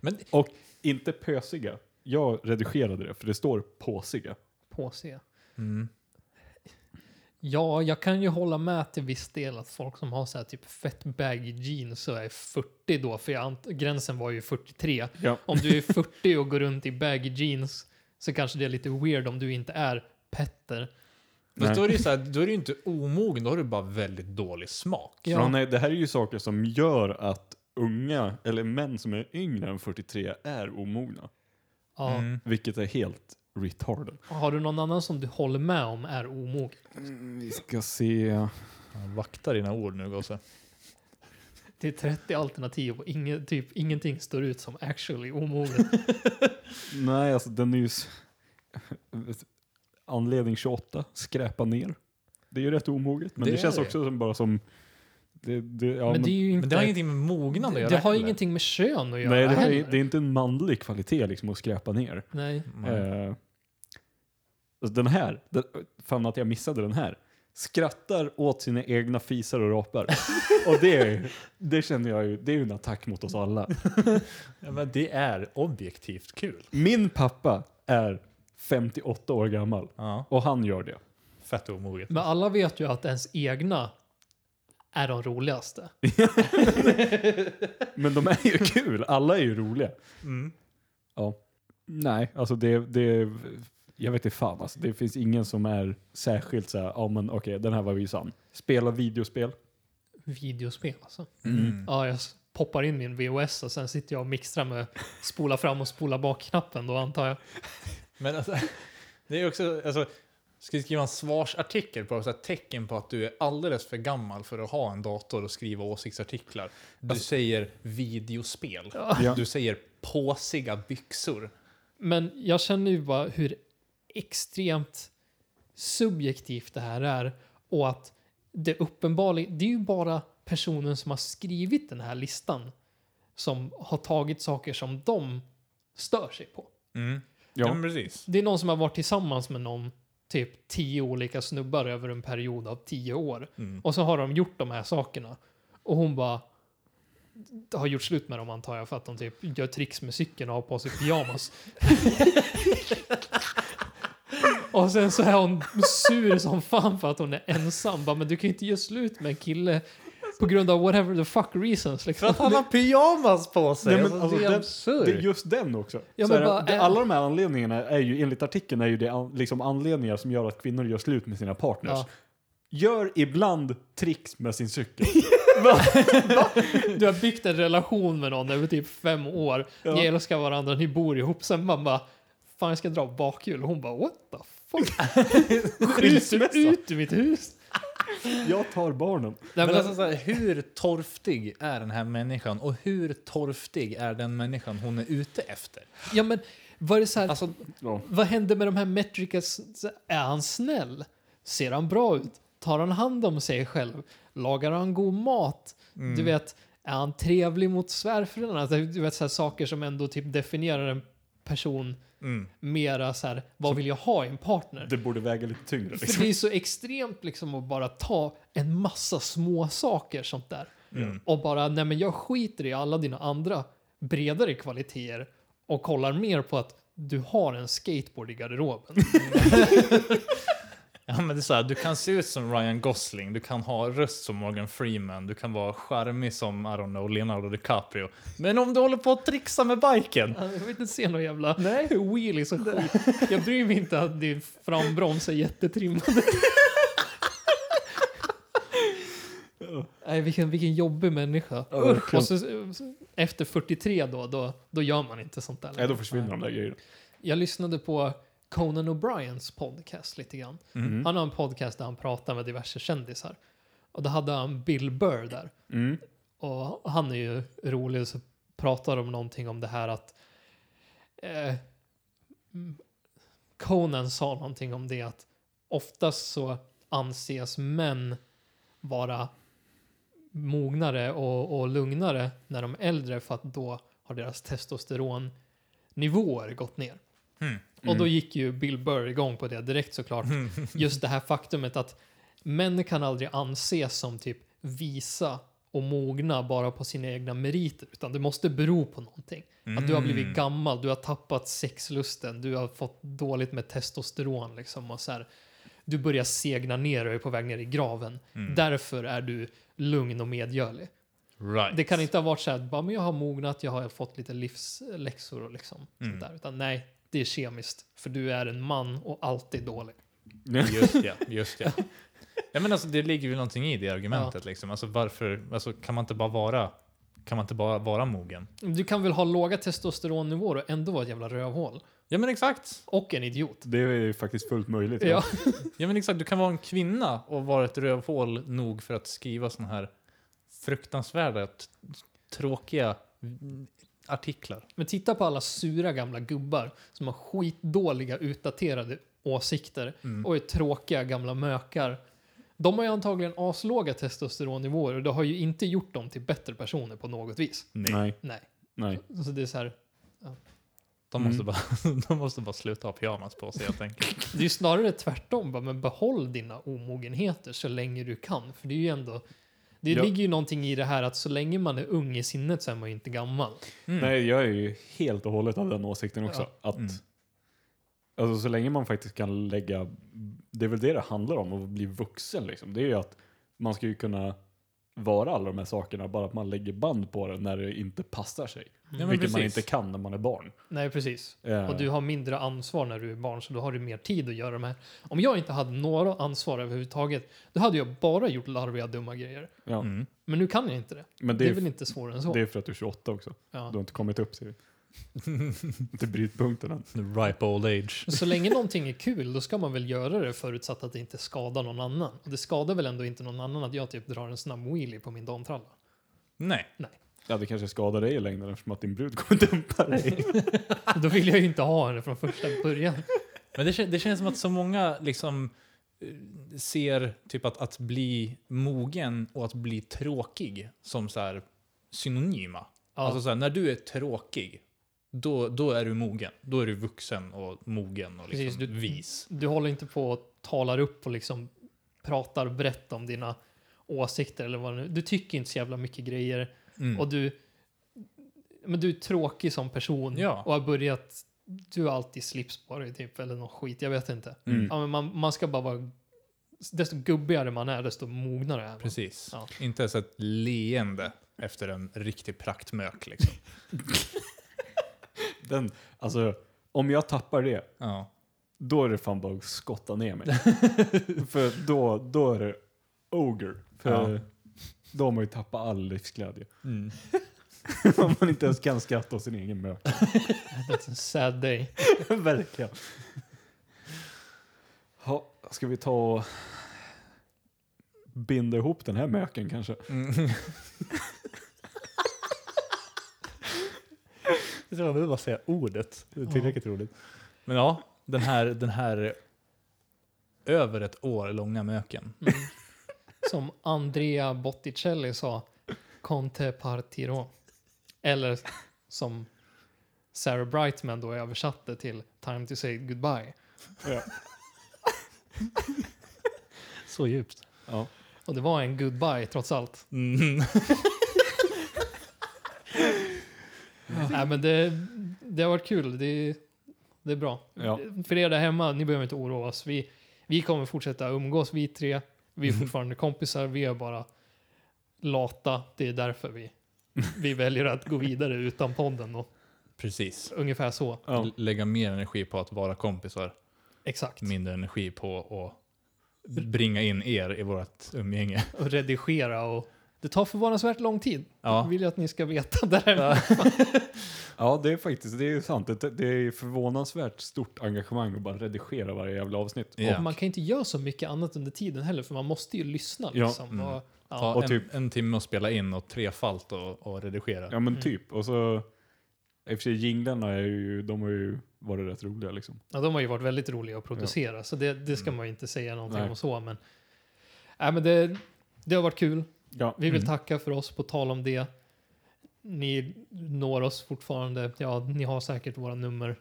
S1: Men-
S3: Och inte pösiga. Jag redigerade det för det står påsiga.
S2: På se.
S1: Mm.
S2: Ja, jag kan ju hålla med till viss del att folk som har så här typ fett baggy jeans så är 40 då, för jag ant- gränsen var ju 43.
S3: Ja.
S2: Om du är 40 och går runt i baggy jeans så kanske det är lite weird om du inte är Petter.
S1: Men
S3: Nej.
S1: då är, det ju så här, då är det ju inte omogen, då har du bara väldigt dålig smak.
S2: Ja.
S3: Ja. Nej, det här är ju saker som gör att unga, eller män som är yngre än 43 är omogna.
S2: Ja.
S1: Mm.
S3: Vilket är helt retarded.
S2: Har du någon annan som du håller med om är omogen?
S3: Mm, Vi ska se.
S1: Ja, Vakta dina ord nu gosse.
S2: Det är 30 alternativ och ingen, typ, ingenting står ut som actually omogen.
S3: Nej, alltså den är ju... s- Anledning 28, skräpa ner. Det är ju rätt omoget, men
S1: Det
S3: det, känns
S1: är det.
S3: också som bara som... Det, det, ja,
S2: men det är ju inte...
S1: Men det har ingenting med mognad att
S2: det,
S1: göra.
S2: det har ju
S1: heller.
S2: ingenting med kön att göra
S3: nej, det, här
S2: heller.
S3: är, det är inte en manlig kvalitet liksom att skräpa ner.
S2: Nej.
S1: Nej.
S3: Eh, alltså den här, den, fan att jag missade den här. Skrattar åt sina egna fisar och rapar. och det, är- det känner jag ju, det är ju en attack mot oss alla.
S1: Ja, men det är objektivt kul.
S3: Min pappa är 58 år gammal och han gör det.
S1: Fett omoget.
S2: Men alla vet ju att ens egna är de roligaste.
S3: Men de är ju kul, alla är ju roliga.
S1: Mm.
S3: Nej, alltså det, det jag vet inte fan alltså. Det finns ingen som är särskilt så här, ja men okej den här var ju sann. Spela videospel.
S2: Videospel alltså.
S1: Mm.
S2: Ja, jag s- poppar in min VOS och sen sitter jag och mixtrar med spola fram och spola bak-knappen då antar jag.
S1: Men alltså, det är också, alltså, ska vi skriva en svarsartikel på så här, tecken på att du är alldeles för gammal för att ha en dator och skriva åsiktsartiklar. Du
S2: Alltså-
S1: säger videospel.
S3: Ja.
S1: Du säger påsiga byxor.
S2: Men jag känner ju bara hur extremt subjektivt det här är och att det uppenbarligen, det är ju bara personen som har skrivit den här listan som har tagit saker som de stör sig på.
S1: Mm. Ja.
S3: Ja.
S1: men precis.
S2: Det är någon som har varit tillsammans med någon, typ tio olika snubbar över en period av tio år.
S1: Mm.
S2: Och så har de gjort de här sakerna. Och hon bara har gjort slut med dem antar jag för att de typ gör tricks med cykeln och har på sig pyjamas. och sen så är hon sur som fan för att hon är ensam. Bara, men du kan ju inte göra slut med en kille på grund av whatever the fuck reasons.
S1: För
S2: Liksom.
S1: att han har pyjamas på sig!
S3: Nej, men
S1: alltså, det är
S3: alltså, den-
S1: absurt.
S3: Det är just den också.
S2: Ja,
S3: så
S2: men
S3: här,
S2: bara,
S3: det,
S2: eh.
S3: alla de här anledningarna är ju enligt artikeln är ju det an, liksom anledningar som gör att kvinnor gör slut med sina partners.
S2: Ja.
S3: Gör ibland tricks med sin cykel.
S2: Du har byggt en relation med någon över typ fem år.
S3: Ja.
S2: Ni älskar varandra, ni bor ihop. Sen man bara, fan jag ska dra bakhjul. Och hon bara, what the fuck?
S3: Skilsmässa.
S2: Skjuter ut ur mitt hus.
S3: Jag tar barnen.
S2: Nej,
S1: Men
S2: men,
S1: alltså, så här, hur torftig är den här människan och hur torftig är den människan hon är ute efter?
S2: ja, men vad är det så här,
S1: Alltså,
S3: Ja.
S2: vad hände med de här metricas? Är han snäll? Ser han bra ut? Tar han hand om sig själv? Lagar han god mat?
S1: Mm.
S2: Du vet, är han trevlig mot svärföräldrarna? Alltså, Du vet så här, saker som ändå typ definierar en person
S1: mm.
S2: mera så här, vad vill jag ha i en partner?
S3: Det borde väga lite tyngre.
S2: För
S3: Liksom.
S2: det är så extremt liksom att bara ta en massa små saker sånt där.
S1: Mm.
S2: Och bara, nej men jag skiter i alla dina andra bredare kvaliteter och kollar mer på att du har en skateboard i garderoben.
S1: Ja, men det är så här, du kan se ut som Ryan Gosling, du kan ha röst som Morgan Freeman, du kan vara charmig som I don't know, Leonardo DiCaprio. Men om du håller på att trixa med biken,
S2: jag vill inte se några jävla wheelies och skit. Jag bryr mig inte att din frambroms är jättetrimmad. Nej, vilken, vilken jobbig människa.
S3: Ja, verkligen.
S2: och så, så- efter 43 då, då, då gör man inte sånt där längre.
S3: Nej, då försvinner de där grejerna.
S2: Jag lyssnade på Conan O'Briens podcast lite grann.
S3: Mm.
S2: Han har en podcast där han pratar med diverse kändisar. Och då hade han Bill Burr där.
S3: Mm.
S2: Och han är ju rolig och så pratar de någonting om det här att eh, mm, Conan sa någonting om det att oftast så anses män vara mognare och, och lugnare när de är äldre för att då har deras testosteronnivåer gått ner.
S1: Mm.
S2: Och då gick ju Bill Burr igång på det direkt såklart. Just det här faktumet att män kan aldrig anses som typ visa och mogna bara på sina egna meriter, utan det måste bero på någonting. Att du har blivit gammal, du har tappat sexlusten, du har fått dåligt med testosteron liksom och så här. Du börjar segna ner och är på väg ner i graven. Därför är du lugn och medgörlig.
S1: right.
S2: Det kan inte ha varit så här, bara, men jag har mognat, jag har fått lite
S1: Mm.
S2: livsläxor och liksom sånt där. Utan nej, det är kemiskt. För du är en man och alltid dålig.
S1: Just ja, just ja. ja men alltså, det ligger ju någonting i det argumentet. Liksom. Alltså, varför, alltså, kan man inte bara vara kan man inte bara vara mogen?
S2: Du kan väl ha låga testosteronnivåer och ändå vara ett jävla rövhål?
S1: Ja men exakt.
S2: Och en idiot.
S3: Det är ju faktiskt fullt möjligt.
S2: Ja.
S1: Ja men exakt, du kan vara en kvinna och vara ett rövhål nog för att skriva sådana här fruktansvärda, t- tråkiga mm, artiklar.
S2: Men titta på alla sura gamla gubbar som har skitdåliga utdaterade åsikter
S1: Mm.
S2: och är tråkiga gamla mökar. De har ju antagligen aslåga testosteronnivåer och det har ju inte gjort dem till bättre personer på något vis.
S1: Nej.
S3: Nej,
S2: Nej.
S3: nej.
S2: Så det är så här,
S1: De, måste
S3: Mm.
S1: bara, de måste bara sluta ha pyjamas på sig helt enkelt.
S2: det är ju snarare tvärtom. Bara, men behåll dina omogenheter så länge du kan. För det är ju ändå, det
S3: Ja.
S2: ligger ju någonting i det här att så länge man är ung i sinnet så är man ju inte gammal.
S1: Mm.
S3: Nej, jag är ju helt och hållet av den åsikten också. Att,
S1: Mm.
S3: alltså, så länge man faktiskt kan lägga, det är väl det det handlar om att bli vuxen. Liksom. Det är ju att man ska ju kunna vara alla de här sakerna, bara att man lägger band på det när det inte passar sig.
S1: Ja, men
S3: vilket man
S1: precis.
S3: inte kan när man är barn.
S2: Nej, precis.
S3: Eh,
S2: Och du har mindre ansvar när du är barn så då har du mer tid att göra de här. Om jag inte hade några ansvar överhuvudtaget då hade jag bara gjort larviga dumma grejer.
S3: ja.
S1: Mm.
S2: Men nu kan jag inte det.
S3: Men
S2: Det
S3: det,
S2: är,
S3: är,
S2: väl inte svårare än så.
S3: det är för att du är 28 också.
S2: ja.
S3: Du har inte kommit upp till, till brytpunkten än.
S1: Ripe old age.
S2: Så länge någonting är kul då ska man väl göra det förutsatt att det inte skadar någon annan. Och det skadar väl ändå inte någon annan att jag typ drar en snabb wheelie på min damtralla.
S1: Nej.
S3: Ja, det kanske skadar dig i längden eftersom att din brud kommer dumpa dig.
S2: Då vill jag ju inte ha henne från första början.
S1: Men det, kän- det känns som att så många liksom eh, ser typ att, att bli mogen och att bli tråkig som så här synonyma.
S2: Ja.
S1: Alltså så här, när du är tråkig, då, då är du mogen. Då är du vuxen och mogen och liksom
S2: Precis, du-
S1: vis.
S2: Du håller inte på och talar upp och liksom pratar brett om dina åsikter eller vad det nu Du tycker inte så jävla mycket grejer.
S1: Mm.
S2: Och du, men du är tråkig som person
S1: Ja.
S2: och har börjat, du har alltid slips på dig typ, eller någon skit, jag vet inte.
S3: Mm.
S2: Ja, men man, man ska bara vara, desto gubbigare man är, desto mognare är man.
S1: Precis.
S2: Ja.
S1: Inte ens ett leende efter en riktig praktmök. Liksom.
S3: Den, alltså, om jag tappar det,
S1: Ja.
S3: då är det fan bara att skotta ner mig. för då, då är det ogre. För
S1: Ja.
S3: då har man ju tappat all livsglädje.
S1: Mm.
S3: Om man inte ens kan skratta åt sin egen mök.
S2: That's a sad day.
S3: Verkligen. Ha, ska vi ta och binda ihop den här möken kanske?
S1: Mm. Jag tror jag behöver bara säga ordet.
S3: Det är
S2: tillräckligt
S3: roligt.
S1: Men ja, den här, den här över ett år långa möken.
S2: Mm. Som Andrea Botticelli sa, Conte partiro. Eller som Sarah Brightman då översatte till Time to say goodbye.
S3: Ja.
S2: Så djupt.
S3: Ja.
S2: Och det var en goodbye trots allt.
S1: Mm.
S2: Nej, men det, det har varit kul. Det, det är bra.
S3: Ja.
S2: För er där hemma, ni behöver inte oroa oss. Vi, vi kommer fortsätta umgås, vi tre. Vi är fortfarande kompisar. Vi är bara lata. Det är därför vi, vi väljer att gå vidare utan podden. Och
S1: Precis.
S2: ungefär så.
S3: Ja.
S1: L- Lägga mer energi på att vara kompisar,
S2: Exakt.
S1: mindre energi på att bringa in er i vårt umgänge.
S2: Och redigera och... Det tar förvånansvärt lång tid.
S1: Ja.
S2: vill jag att ni ska veta där hemma.
S3: ja, det är faktiskt det är sant. Det, det är förvånansvärt stort engagemang att bara redigera varje jävla avsnitt.
S1: Ja.
S2: Och man kan inte göra så mycket annat under tiden heller, för man måste ju lyssna.
S3: Ja.
S2: Liksom.
S1: Mm.
S2: Och, ja.
S1: Ta
S3: och
S1: en,
S3: typ-
S1: en timme att spela in och trefalt och, och redigera.
S3: Ja men
S2: Mm.
S3: typ. Och så, i och för sig jinglarna är ju, de har ju varit rätt roliga liksom.
S2: Ja, de har ju varit väldigt roliga att producera, så det, det ska
S1: Mm.
S2: man ju inte säga någonting
S3: Nej.
S2: om så. Men, nej, men det, det har varit kul.
S3: Ja,
S2: Vi vill
S1: Mm.
S2: tacka för oss, på tal om det. Ni når oss fortfarande. Ja, ni har säkert våra nummer.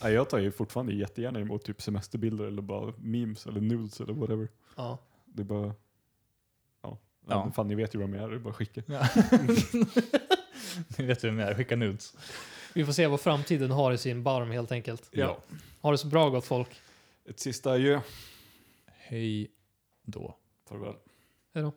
S3: ja, jag tar ju fortfarande jättegärna emot typ semesterbilder eller bara memes eller nudes eller whatever.
S2: Ja.
S3: Det är bara, ja.
S1: Ja.
S3: ja. Fan ni vet ju vad de är, det är bara att skicka.
S1: Ja. Ni vet vem jag är, skicka nudes.
S2: Vi får se vad framtiden har i sin barm helt enkelt. Ha det så bra gott folk.
S3: Ett sista adjö.
S1: Hej då.
S3: Farväl.
S2: Hej då.